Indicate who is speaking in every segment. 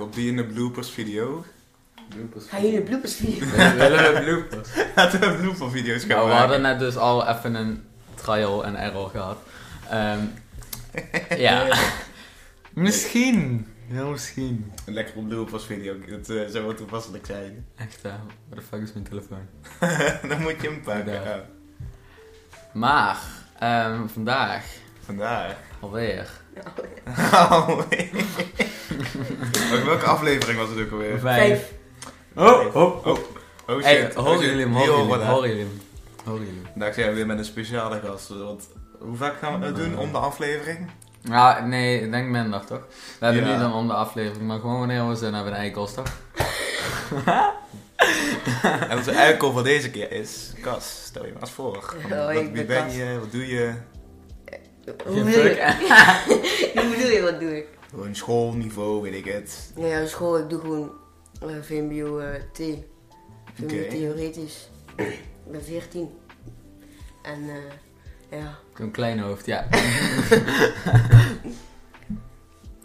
Speaker 1: op die in de bloopers video.
Speaker 2: Bloopers.
Speaker 3: Gaan jullie bloepers video?
Speaker 2: Nee, we willen bloopers.
Speaker 1: Laten we blooper video's gaan
Speaker 4: Nou, we
Speaker 1: maken.
Speaker 4: hadden net dus al even een trial en error gehad. Ehm, ja. misschien. Heel misschien.
Speaker 1: Een lekkere bloopers video. Dat eh, zou wel toepasselijk zijn.
Speaker 4: Echt, hè? What the fuck is mijn telefoon?
Speaker 1: Dan moet je hem pakken. Oh,
Speaker 4: Ja.
Speaker 1: Ja.
Speaker 4: Maar, ehm, vandaag
Speaker 1: Vandaag.
Speaker 4: alweer.
Speaker 1: Oh, nee. Maar Welke aflevering was het ook alweer?
Speaker 3: Vijf.
Speaker 4: Oh,
Speaker 1: Oh,
Speaker 4: oh,
Speaker 1: oh shit.
Speaker 4: Hey,
Speaker 1: Oh, shit.
Speaker 4: horen jullie hem?
Speaker 1: Heel
Speaker 4: Horen jullie hem?
Speaker 1: wat, hè?
Speaker 4: Horen jullie hem? Horen jullie hem?
Speaker 1: Vandaag zijn we weer met een speciale gast. Want hoe vaak gaan we dat doen om de aflevering?
Speaker 4: Nou, nee, ik denk minder, toch? We hebben
Speaker 1: Ja.
Speaker 4: niet dan om de aflevering, maar gewoon wanneer we zin hebben in Eikelsdag.
Speaker 1: En onze uitkoop van deze keer is... Kas, stel je maar eens voor.
Speaker 3: Oh,
Speaker 1: Wat-
Speaker 3: ik
Speaker 1: wie
Speaker 3: ben
Speaker 1: ben
Speaker 3: Kas.
Speaker 1: je? Wat doe je?
Speaker 3: Hoe bedoel je? Hoe bedoel je, wat doe ik?
Speaker 1: Gewoon schoolniveau, weet ik het.
Speaker 3: Nee, op school, ik doe gewoon eh, VMBO eh, T. VMBO
Speaker 1: Oké.
Speaker 3: theoretisch. ik ben 14. En eh, ja.
Speaker 4: Een klein hoofd, ja.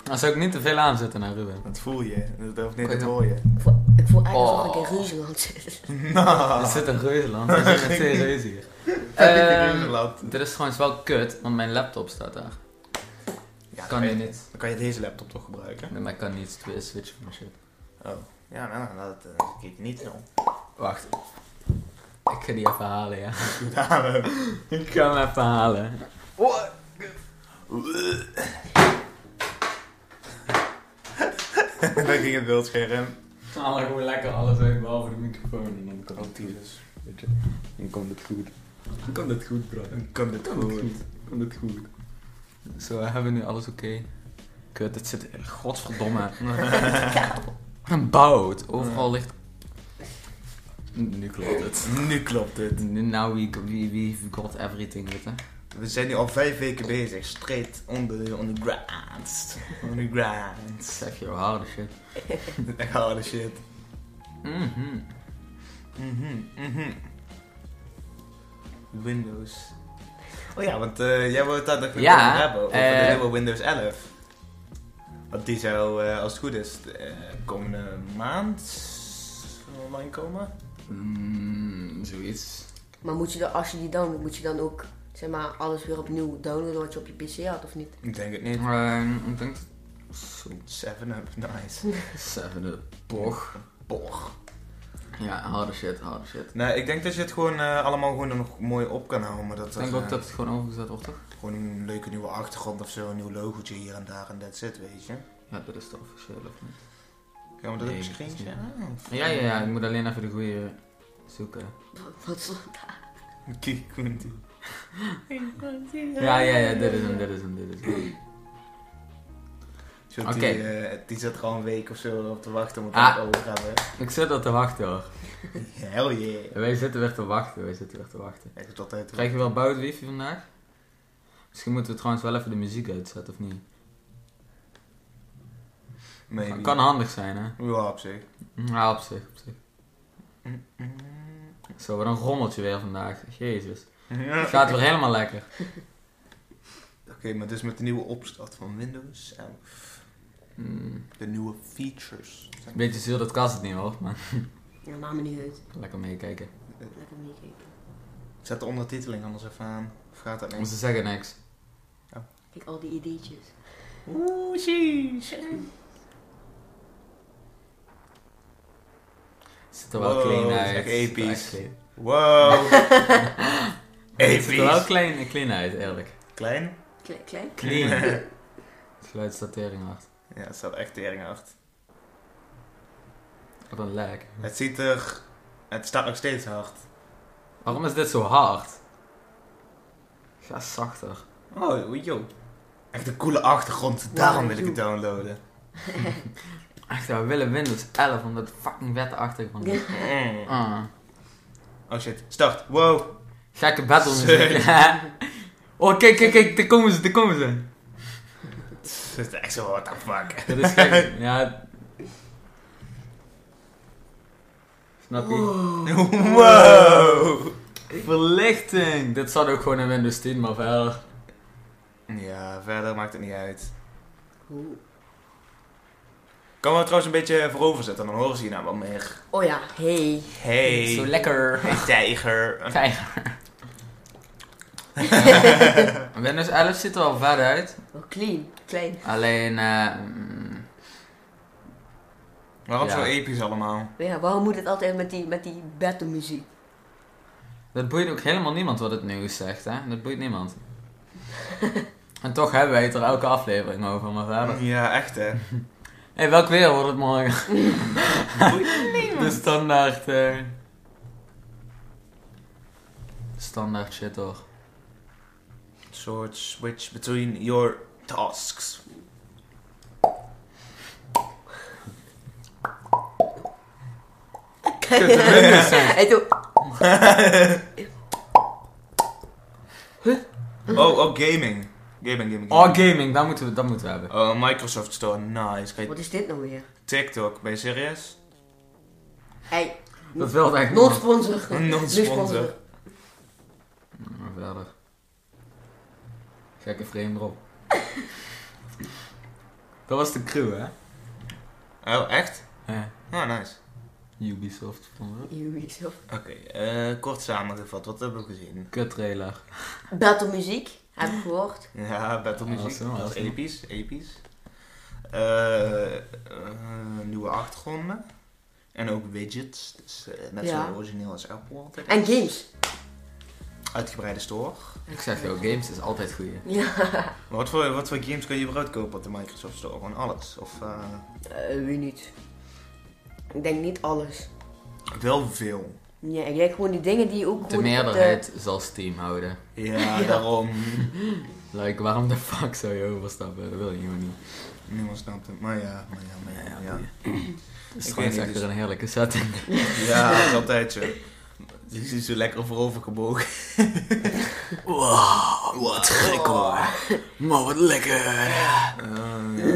Speaker 4: Dan zou ik niet te veel aan zitten naar Ruben.
Speaker 1: Dat voel je. Dat durf niet
Speaker 4: Kan je
Speaker 1: te
Speaker 4: dat-
Speaker 1: horen.
Speaker 3: Ik voel, ik voel eigenlijk
Speaker 4: Oh.
Speaker 3: alsof ik in Ruzeland zit.
Speaker 1: Nou.
Speaker 4: Er zit een reuzenland, er zit twee reuzen hier. Ehm, dit is trouwens wel kut, want mijn laptop staat daar.
Speaker 1: Ja,
Speaker 4: Kan
Speaker 1: je
Speaker 4: die niet.
Speaker 1: Dan kan je deze laptop toch gebruiken?
Speaker 4: Nee, maar ik kan niet twee switchen van shit.
Speaker 1: Oh. Ja, nou, dat uh, ik niet doen.
Speaker 4: Wacht. Ik ga die even halen, ja.
Speaker 1: Daarom.
Speaker 4: Ik ga hem even halen.
Speaker 1: Dan ging het beeldscherm.
Speaker 4: We halen gewoon lekker alles uit behalve de microfoon en dan kan
Speaker 1: Oh, Jesus.
Speaker 4: Dan komt het goed. Dan komt het goed, bro.
Speaker 1: Dan kan dit goed.
Speaker 4: Komt het goed. Zo, hebben we nu alles oké? Kut, het zit... Godsverdomme. Een bout. Overal ligt... Nu klopt het.
Speaker 1: Nu klopt het.
Speaker 4: Nu- Now we, we, we've got everything, weet je.
Speaker 1: We zijn nu al vijf weken bezig. Straight on the, on the ground. On the ground.
Speaker 4: Zeg je harde shit.
Speaker 1: Echt harde shit.
Speaker 4: Mhm.
Speaker 1: Mhm, mhm. Windows. Oh ja, want eh, jij wou het daar nog even
Speaker 4: Ja,
Speaker 1: over hebben. Over
Speaker 4: eh,
Speaker 1: de nieuwe Windows 11. Want die zou, eh, als het goed is, de eh, komende maand online komen.
Speaker 4: Mm, zoiets.
Speaker 3: Maar moet je dan, als je die downloadt, moet je dan ook zeg maar, alles weer opnieuw downloaden wat je op je PC had of niet?
Speaker 1: Ik denk het niet.
Speaker 4: Ehm, ik denk... Zo.
Speaker 1: 7-up, nice.
Speaker 4: Seven up. Boch.
Speaker 1: Boch.
Speaker 4: Ja, harde shit, harde shit.
Speaker 1: Nou, ik denk dat je het gewoon eh, allemaal gewoon er nog mooi op kan houden. Maar dat
Speaker 4: Ik denk
Speaker 1: dat,
Speaker 4: ook
Speaker 1: eh,
Speaker 4: dat het gewoon overgezet wordt, toch?
Speaker 1: Gewoon een leuke nieuwe achtergrond of zo, een nieuw logootje hier en daar en that's it, weet je.
Speaker 4: Ja, dat is de officiële, of niet?
Speaker 1: Ja, maar dat
Speaker 4: Nee,
Speaker 1: heb ik
Speaker 4: dat is
Speaker 1: screentje. Ah,
Speaker 4: Ja, ja, ja. Ik moet alleen even de goede zoeken.
Speaker 3: Wat zo?
Speaker 1: Kijk, Quinty.
Speaker 4: Ja, ja, ja. Dit is hem, dit is hem, dit is hem.
Speaker 1: Zo,
Speaker 4: Oké.
Speaker 1: die, eh, die zit er al een week of zo op te wachten om het
Speaker 4: Ah.
Speaker 1: over te hebben.
Speaker 4: Ik zit er te wachten, hoor.
Speaker 1: Hell yeah.
Speaker 4: Wij zitten weer te wachten, wij zitten weer te wachten.
Speaker 1: Ik heb het altijd
Speaker 4: Krijg je wel bout wifi vandaag? Misschien moeten we trouwens wel even de muziek uitzetten, of niet?
Speaker 1: Maybe.
Speaker 4: Kan handig zijn, hè?
Speaker 1: Ja, op zich.
Speaker 4: Ja, op zich, op zich.
Speaker 1: Mm, mm.
Speaker 4: Zo, wat een rommeltje weer vandaag. Jezus.
Speaker 1: Ja.
Speaker 4: Het gaat weer helemaal lekker.
Speaker 1: Oké, maar dus met de nieuwe opstart van Windows 11.
Speaker 4: Mm,
Speaker 1: De nieuwe features.
Speaker 4: beetje zuur dat kast het niet hoor, maar
Speaker 3: Ja, maakt me niet uit.
Speaker 4: lekker meekijken.
Speaker 3: Lekker meekijken.
Speaker 1: Zet de ondertiteling anders even aan. Of gaat dat
Speaker 4: Maar
Speaker 1: niet?
Speaker 4: Ze zeggen niks.
Speaker 3: Kijk, al die ideetjes.
Speaker 1: Oeh, jeez.
Speaker 4: Ziet er wel
Speaker 1: Wow,
Speaker 4: clean
Speaker 1: dat is
Speaker 4: uit.
Speaker 1: echt
Speaker 4: Ziet er
Speaker 1: episch.
Speaker 4: clean.
Speaker 1: Wow.
Speaker 4: Het ziet er wel
Speaker 1: Episch.
Speaker 4: klein, clean uit, eerlijk.
Speaker 1: Klein?
Speaker 3: Klein, klein.
Speaker 4: Clean. Geluidsdatering hard.
Speaker 1: Ja, het staat echt tering hard.
Speaker 4: Wat een lag.
Speaker 1: Het ziet er... Het staat nog steeds hard.
Speaker 4: Waarom is dit zo hard? Ga zachter.
Speaker 1: Oh, yo. Echt een coole achtergrond, daarom wil ik het downloaden.
Speaker 4: Echt, we willen Windows 11 omdat het fucking wette achtergrond is.
Speaker 1: Mm.
Speaker 4: Ah.
Speaker 1: Oh shit, start. Wow.
Speaker 4: Gekke battle muziek. oh, kijk, kijk, kijk, daar komen ze, daar komen ze.
Speaker 1: Het is echt zo, what the fuck.
Speaker 4: Dat is gek. ja. Snap je?
Speaker 1: Wow.
Speaker 4: Verlichting! Dit zat ook gewoon in Windows 10, maar verder.
Speaker 1: Ja, verder maakt het niet uit.
Speaker 3: Hoe?
Speaker 1: Kan we trouwens een beetje voorover zetten, dan horen ze je naam wel meer.
Speaker 3: Oh ja, hey.
Speaker 1: Hey,
Speaker 4: Zo lekker.
Speaker 1: hey, tijger.
Speaker 4: Tijger. Windows 11 ziet er wel verder uit.
Speaker 3: Wel clean, klein.
Speaker 4: Alleen, eh, mm,
Speaker 1: Waarom
Speaker 4: Ja.
Speaker 1: zo episch allemaal?
Speaker 3: Maar ja, waarom moet het altijd met die, met die battle muziek?
Speaker 4: dat boeit ook helemaal niemand wat het nieuws zegt, hè? Dat boeit niemand. en toch hebben wij het er elke aflevering over, maar verder.
Speaker 1: Ja, echt hè.
Speaker 4: Hé, welk weer wordt het morgen? de standaard. eh, Standaard shit hoor.
Speaker 1: Sword switch between your tasks.
Speaker 3: Kijk, hij doet...
Speaker 1: Oh, oh, gaming. Gaming, gaming,
Speaker 4: Oh,
Speaker 1: gaming.
Speaker 4: gaming, dat moeten we, dat moeten we hebben.
Speaker 1: Oh, Microsoft Store, nice. Kijk,
Speaker 3: Wat is dit nou weer?
Speaker 1: TikTok, ben je serieus?
Speaker 3: Hey,
Speaker 4: Dat wilde eigenlijk
Speaker 3: non
Speaker 4: niemand.
Speaker 3: sponsor.
Speaker 1: Non-sponsor.
Speaker 4: Maar verder. Gekke frame erop. dat was de crew, hè?
Speaker 1: Oh, echt?
Speaker 4: Ja.
Speaker 1: Oh, nice.
Speaker 4: Ubisoft vond ik.
Speaker 3: Ubisoft.
Speaker 1: Oké, eh, kort samengevat, wat hebben we gezien?
Speaker 4: Kut trailer.
Speaker 3: Battle muziek, heb ik gehoord.
Speaker 1: Ja, battle
Speaker 4: Ah,
Speaker 1: muziek.
Speaker 4: zo,
Speaker 1: dat is
Speaker 4: zo.
Speaker 1: episch, episch. Eh, eh, nieuwe achtergronden. En ook widgets. Dus eh, net
Speaker 3: Ja.
Speaker 1: zo origineel als Apple altijd.
Speaker 3: En games.
Speaker 1: Uitgebreide store.
Speaker 4: Ik zeg jou, games is altijd goeie.
Speaker 3: Ja,
Speaker 1: Maar Wat voor, wat voor games kun je überhaupt kopen op de Microsoft Store? Gewoon alles? Of eh,
Speaker 3: Eh, wie niet? Ik denk niet alles.
Speaker 1: wel veel?
Speaker 3: Ja, ik denk gewoon die dingen die je ook
Speaker 4: De
Speaker 3: gewoon op
Speaker 4: meerderheid zal Steam houden.
Speaker 1: Ja,
Speaker 3: Ja.
Speaker 1: daarom.
Speaker 4: Like, waarom de fuck zou je overstappen? Dat wil je gewoon niet.
Speaker 1: Niemand snapt het. Maar ja, maar ja, maar ja. Ja,
Speaker 4: Dus
Speaker 1: Ik
Speaker 4: gewoon
Speaker 1: weet
Speaker 4: is
Speaker 1: niet,
Speaker 4: echt
Speaker 1: dus-
Speaker 4: weer een heerlijke setting.
Speaker 1: ja dat is altijd zo. Die is zo lekker voorover gebogen.
Speaker 4: Wow,
Speaker 3: Oh.
Speaker 1: wat gek, hoor.
Speaker 4: Maar wat lekker.
Speaker 1: Eh,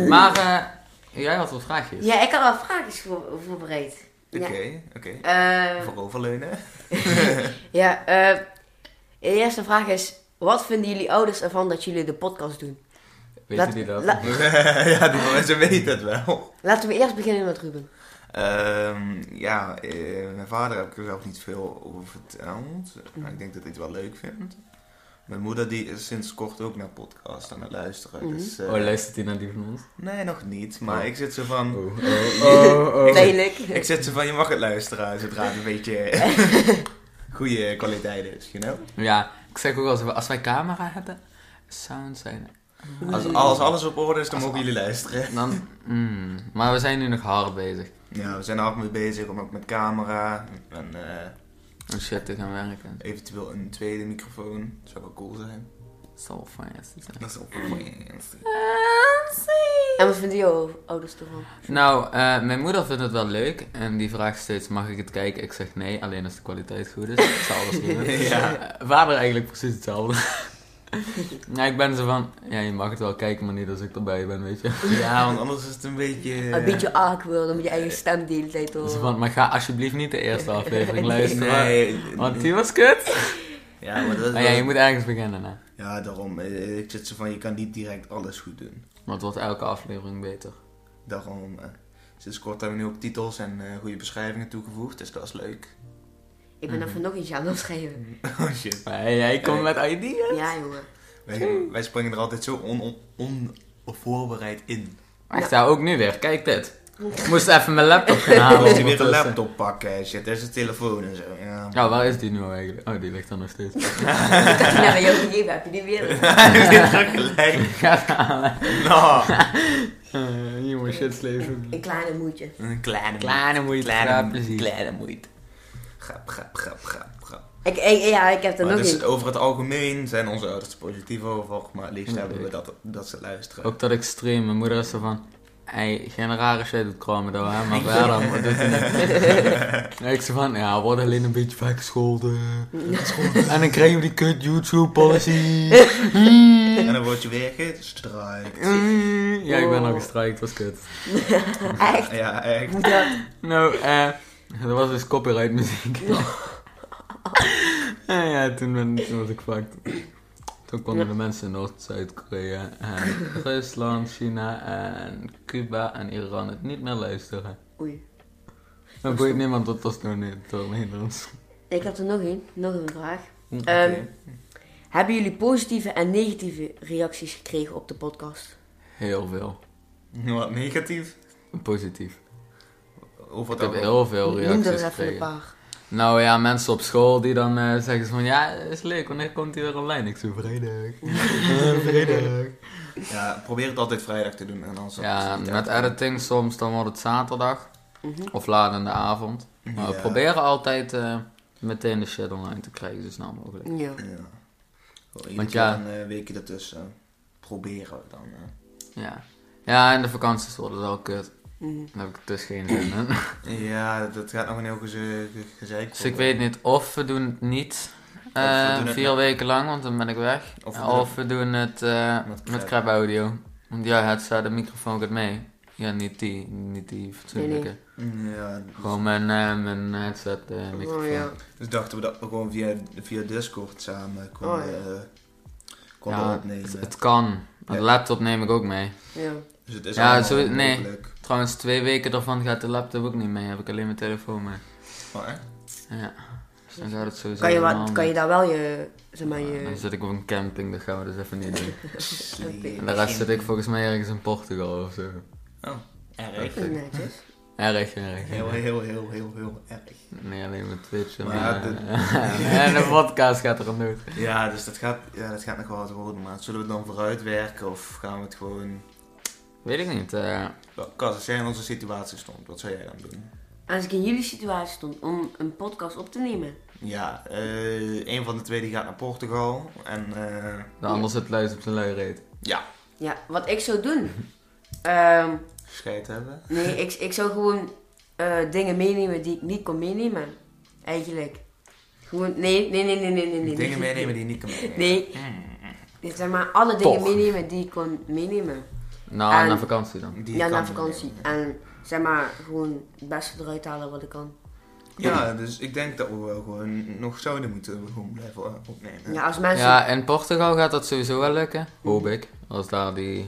Speaker 4: Maar eh, jij had wat vraagjes.
Speaker 3: Ja, ik had wel vraagjes voor, voorbereid. Ja.
Speaker 1: Oké, oké.
Speaker 3: Eh,
Speaker 1: Vooroverleunen.
Speaker 3: ja, eh, de eerste vraag is... Wat vinden jullie ouders ervan dat jullie de podcast doen?
Speaker 4: Weet
Speaker 3: Laat-
Speaker 4: jullie dat?
Speaker 3: laat-
Speaker 1: ja, die mensen weten het wel.
Speaker 3: Laten we eerst beginnen met
Speaker 4: Oh,
Speaker 3: Ruben.
Speaker 1: Ehm, ja, eh, mijn vader heb ik er zelf niet veel over verteld. Maar ik denk dat hij het wel leuk vindt. Mijn moeder die is sinds kort ook naar podcast aan het luisteren.
Speaker 3: Mhm.
Speaker 1: dus, eh,
Speaker 4: Oh, luistert hij naar die van ons?
Speaker 1: Nee, nog niet. Maar
Speaker 4: Oh.
Speaker 1: ik zit zo van...
Speaker 4: Oh, oh, oh, oh.
Speaker 3: Lelijk.
Speaker 1: Ik zit zo van, je mag het luisteren zodra het een beetje goede kwaliteit is, you know?
Speaker 4: Ja, ik zeg ook wel eens, als wij camera hebben, sound zijn.
Speaker 1: Als, als alles op orde is, dan mogen jullie luisteren.
Speaker 4: Dan, mm, maar we zijn nu nog hard bezig.
Speaker 1: Ja, we zijn er hard mee bezig, om ook met camera en eh,
Speaker 4: Om Oh shit te gaan werken.
Speaker 1: eventueel een tweede microfoon. Dat zou wel cool zijn.
Speaker 4: Dat zal wel fancy zijn.
Speaker 1: Dat is ook
Speaker 3: En wat vinden jouw ouders ervan?
Speaker 4: Nou, eh, mijn moeder vindt het wel leuk en die vraagt steeds, mag ik het kijken? Ik zeg nee, alleen als de kwaliteit goed is. Ik zal alles doen.
Speaker 1: Ja.
Speaker 4: Eh, Vader eigenlijk precies hetzelfde. nou, ik ben zo van, ja, je mag het wel kijken, maar niet als ik erbij ben, weet je.
Speaker 1: Ja, want anders is het een beetje... eh,
Speaker 3: Een beetje awkward om je eigen stem de hele tijd
Speaker 4: Zo
Speaker 3: horen.
Speaker 4: van, maar ga alsjeblieft niet de eerste aflevering luisteren.
Speaker 1: Nee.
Speaker 4: Want die was kut.
Speaker 1: Ja, maar dat is
Speaker 4: Maar ja, je
Speaker 1: wel-
Speaker 4: moet ergens beginnen, hè.
Speaker 1: ja, daarom. eh, Ik zit zo van, je kan niet direct alles goed doen.
Speaker 4: Want het wordt elke aflevering beter.
Speaker 1: Daarom... eh, Sinds kort hebben we nu ook titels en eh, goede beschrijvingen toegevoegd, dus dat is leuk.
Speaker 3: Ik ben even nog iets aan het schrijven.
Speaker 4: Mm.
Speaker 1: Oh shit.
Speaker 4: Maar jij komt met ideeën.
Speaker 3: Ja, jongen.
Speaker 1: Wij, wij springen er altijd zo on- on- onvoorbereid in.
Speaker 4: Echt, ja, ook nu weer. Kijk dit. Ik moest even mijn laptop gaan halen.
Speaker 1: Moet je weer een
Speaker 4: ondertussen.
Speaker 1: laptop pakken en shit, er is een telefoon en zo. Ja.
Speaker 4: Nou, waar is die nu eigenlijk? Oh, die ligt er nog steeds.
Speaker 3: Ik dacht, nou, bij jou gegeven heb je die weer.
Speaker 1: Hij is gelijk. Nou,
Speaker 4: Eh, Hier moet shit sleven.
Speaker 3: Een kleine moedje.
Speaker 1: een kleine,
Speaker 4: Kleine moeite.
Speaker 1: Kleine,
Speaker 4: Kleine plezier.
Speaker 1: kleine moeite. Grap, grap, grap, grap, grap.
Speaker 3: Ik, ik- ja, ik heb er
Speaker 1: Maar
Speaker 3: nog
Speaker 1: dus
Speaker 3: één.
Speaker 1: over het algemeen zijn onze ouders er positief over, maar het liefst hebben we dat, dat ze luisteren.
Speaker 4: Ook dat ik stream. Mijn moeder is zo van... Hey, geen rare shit doet Chrome door, hè? Maar verder, wat doet hij niet? ik zo van, ja, word alleen een beetje weggescholden. en dan krijgen we die kut YouTube policy.
Speaker 1: En dan word je weer gestraaid.
Speaker 4: ja, ik ben al
Speaker 3: Oh.
Speaker 4: gestrikt, was kut.
Speaker 3: Echt?
Speaker 1: Ja, echt.
Speaker 3: Hoe dat?
Speaker 4: Nou, eh, dat was dus copyright muziek. ja, ja toen, ben, toen was ik fucked. Toen Toen konden de mensen in Noord- Zuid-Korea en Rusland, China en Cuba en Iran het niet meer luisteren.
Speaker 3: Oei.
Speaker 4: Dan boeit niemand dat was nou niet door Nederlands.
Speaker 3: Ik heb er nog één, nog een vraag.
Speaker 1: Oké.
Speaker 3: Ehm, Hebben jullie positieve en negatieve reacties gekregen op de podcast?
Speaker 4: Heel veel.
Speaker 1: Wat negatief?
Speaker 4: Positief.
Speaker 1: Of wat
Speaker 4: Ik heb
Speaker 1: ook.
Speaker 4: heel veel
Speaker 3: Noem er
Speaker 4: reacties
Speaker 3: even een
Speaker 4: gekregen.
Speaker 3: paar.
Speaker 4: Nou ja, mensen op school die dan eh, zeggen van ja, is leuk, wanneer komt hij weer online? Ik zo vrijdag. Eh, vrijdag.
Speaker 1: Ja, probeer het altijd vrijdag te doen. En dan zal-
Speaker 4: Ja,
Speaker 1: is het niet
Speaker 4: met
Speaker 1: echt-
Speaker 4: editing soms dan wordt het zaterdag
Speaker 3: Mhm.
Speaker 4: of laat in de avond. Maar we
Speaker 1: Ja.
Speaker 4: proberen altijd eh, meteen de shit online te krijgen, zo snel mogelijk.
Speaker 3: Ja.
Speaker 1: Ja.
Speaker 4: Want
Speaker 1: Want
Speaker 4: ja.
Speaker 1: ja. Een eh, weekje ertussen. Proberen we dan. eh. hè.
Speaker 4: Ja. Ja, en de vakanties worden wel kut.
Speaker 3: Mhm.
Speaker 4: Daar heb ik dus geen zin in.
Speaker 1: Ja, dat- dat gaat nog een heel geze- ge- gezeik
Speaker 4: Dus ik
Speaker 1: worden.
Speaker 4: weet niet of we doen het niet eh,
Speaker 1: Of we doen het
Speaker 4: vier
Speaker 1: met-
Speaker 4: weken lang, want dan ben ik weg.
Speaker 1: Of
Speaker 4: Of
Speaker 1: we
Speaker 4: we,
Speaker 1: doen-
Speaker 4: doen het eh,
Speaker 1: Met
Speaker 4: met
Speaker 1: Crab.
Speaker 4: crap audio. Want ja, het staat de microfoon gaat mee. Ja, niet die, niet die fatsoenlijke.
Speaker 3: Nee,
Speaker 1: Ja, dus-
Speaker 4: Gewoon mijn, eh, mijn headset eh, microfoon.
Speaker 3: Oh, ja.
Speaker 1: dus dachten we dat we gewoon via, via Discord samen konden,
Speaker 3: Oh, ja.
Speaker 1: eh, konden
Speaker 4: Ja,
Speaker 1: opnemen.
Speaker 4: Het, het kan. Een
Speaker 1: Ja.
Speaker 4: laptop neem ik ook mee.
Speaker 3: ja.
Speaker 1: dus het is
Speaker 4: ja,
Speaker 1: allemaal
Speaker 4: zo- nee.
Speaker 1: mogelijk.
Speaker 4: Trouwens, twee weken daarvan gaat de laptop ook niet mee. Heb ik alleen mijn telefoon mee.
Speaker 1: Oh, echt?
Speaker 4: Ja. Dus dan gaat het sowieso
Speaker 3: Kan je,
Speaker 4: helemaal
Speaker 3: wat,
Speaker 4: niet.
Speaker 3: kan je daar eh? wel je, zeg maar,
Speaker 4: Ja, Dan
Speaker 3: je...
Speaker 4: zit ik op een camping, dat gaan we dus even niet doen.
Speaker 1: Slim.
Speaker 4: En de rest zit ik volgens mij ergens in Portugal of zo.
Speaker 1: Erg.
Speaker 3: Netjes.
Speaker 4: Erg, erg.
Speaker 1: Heel, heel, heel, heel, heel erg.
Speaker 4: Nee, alleen met Twitch en,
Speaker 1: Maar
Speaker 4: eh,
Speaker 1: de-
Speaker 4: en de podcast gaat er aan doen.
Speaker 1: Ja, dus dat gaat, ja, dat gaat nog wel wat worden, maar zullen we het dan vooruitwerken of gaan we het gewoon...
Speaker 4: Weet ik niet. eh,
Speaker 1: Wel, Cas, als jij in onze situatie stond, wat zou jij dan doen?
Speaker 3: Als ik in jullie situatie stond om een podcast op te nemen.
Speaker 1: Ja, eh, een van de twee die gaat naar Portugal en... eh,
Speaker 4: de ander zit luis op zijn lui reet.
Speaker 1: ja,
Speaker 3: Ja, wat ik zou doen... Ehm,
Speaker 1: scheid hebben.
Speaker 3: nee, ik, ik zou gewoon eh, dingen meenemen die ik niet kon meenemen. Eigenlijk. Gewoon... Nee, nee, nee, nee, nee, nee. nee
Speaker 1: Dingen meenemen die je niet Hmm. kan meenemen.
Speaker 3: Nee. Dit zijn maar alle dingen
Speaker 4: Toch.
Speaker 3: meenemen die ik kon meenemen.
Speaker 4: Nou,
Speaker 3: En-
Speaker 4: na vakantie dan.
Speaker 1: Die je
Speaker 3: Ja,
Speaker 1: kan
Speaker 3: na vakantie.
Speaker 1: meenemen.
Speaker 3: En zeg maar gewoon het beste eruit halen wat ik kan.
Speaker 1: Ja, dus ik denk dat we wel gewoon nog zouden moeten gewoon blijven eh, opnemen.
Speaker 3: Ja, als mensen...
Speaker 4: Ja, in Portugal gaat dat sowieso wel lukken. Hoop
Speaker 1: Mhm.
Speaker 4: ik. Als daar die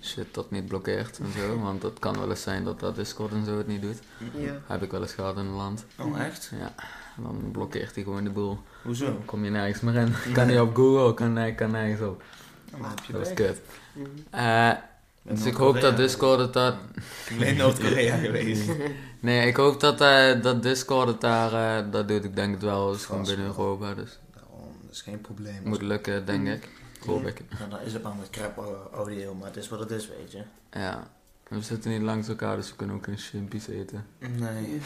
Speaker 4: shit dat niet blokkeert en zo. Want het kan wel eens zijn dat dat Discord en zo het niet doet.
Speaker 3: Ja.
Speaker 4: Heb ik wel eens gehad in een land.
Speaker 1: Oh, echt?
Speaker 4: Ja, dan blokkeert hij gewoon de boel.
Speaker 1: Hoezo?
Speaker 4: Dan kom je nergens meer in. Kan niet op Google, kan, ne- kan nergens op.
Speaker 1: Ja, maar heb je
Speaker 4: Dat is
Speaker 1: werk.
Speaker 4: kut.
Speaker 3: Mhm.
Speaker 4: Eh,
Speaker 1: Ben
Speaker 4: dus ik hoop
Speaker 1: Noord-Korea
Speaker 4: dat Discord het daar...
Speaker 1: geweest. Ik ben in Noord-Korea geweest.
Speaker 4: Nee, ik hoop dat, eh, dat Discord het daar... eh, dat doet ik denk het wel. Het is gewoon
Speaker 1: Vast
Speaker 4: binnen
Speaker 1: wel.
Speaker 4: Europa, dus
Speaker 1: Daarom, dat is geen probleem.
Speaker 4: het moet lukken,
Speaker 1: Mhm.
Speaker 4: denk ik. Hoop ik.
Speaker 1: Nou, dan is het maar met crap eh, audio, maar het is wat het is, weet je.
Speaker 4: Ja. We zitten niet langs elkaar, dus we kunnen ook geen shimpies eten.
Speaker 1: Nee.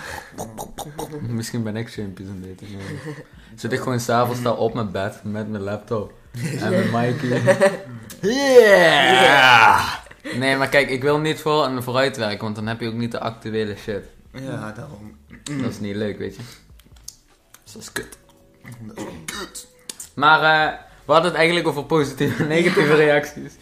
Speaker 4: Misschien ben ik shimpies aan het eten. maar- Zit ik gewoon s'avonds daar op mijn bed met mijn laptop. En met Mikey.
Speaker 1: Yeah!
Speaker 4: Nee, maar kijk, ik wil niet voor en vooruitwerken, want dan heb je ook niet de actuele shit.
Speaker 1: Ja, daarom.
Speaker 4: Dat is niet leuk, weet je. Dus dat is kut.
Speaker 1: Dat is wel kut.
Speaker 4: Maar eh, we hadden het eigenlijk over positieve en negatieve reacties.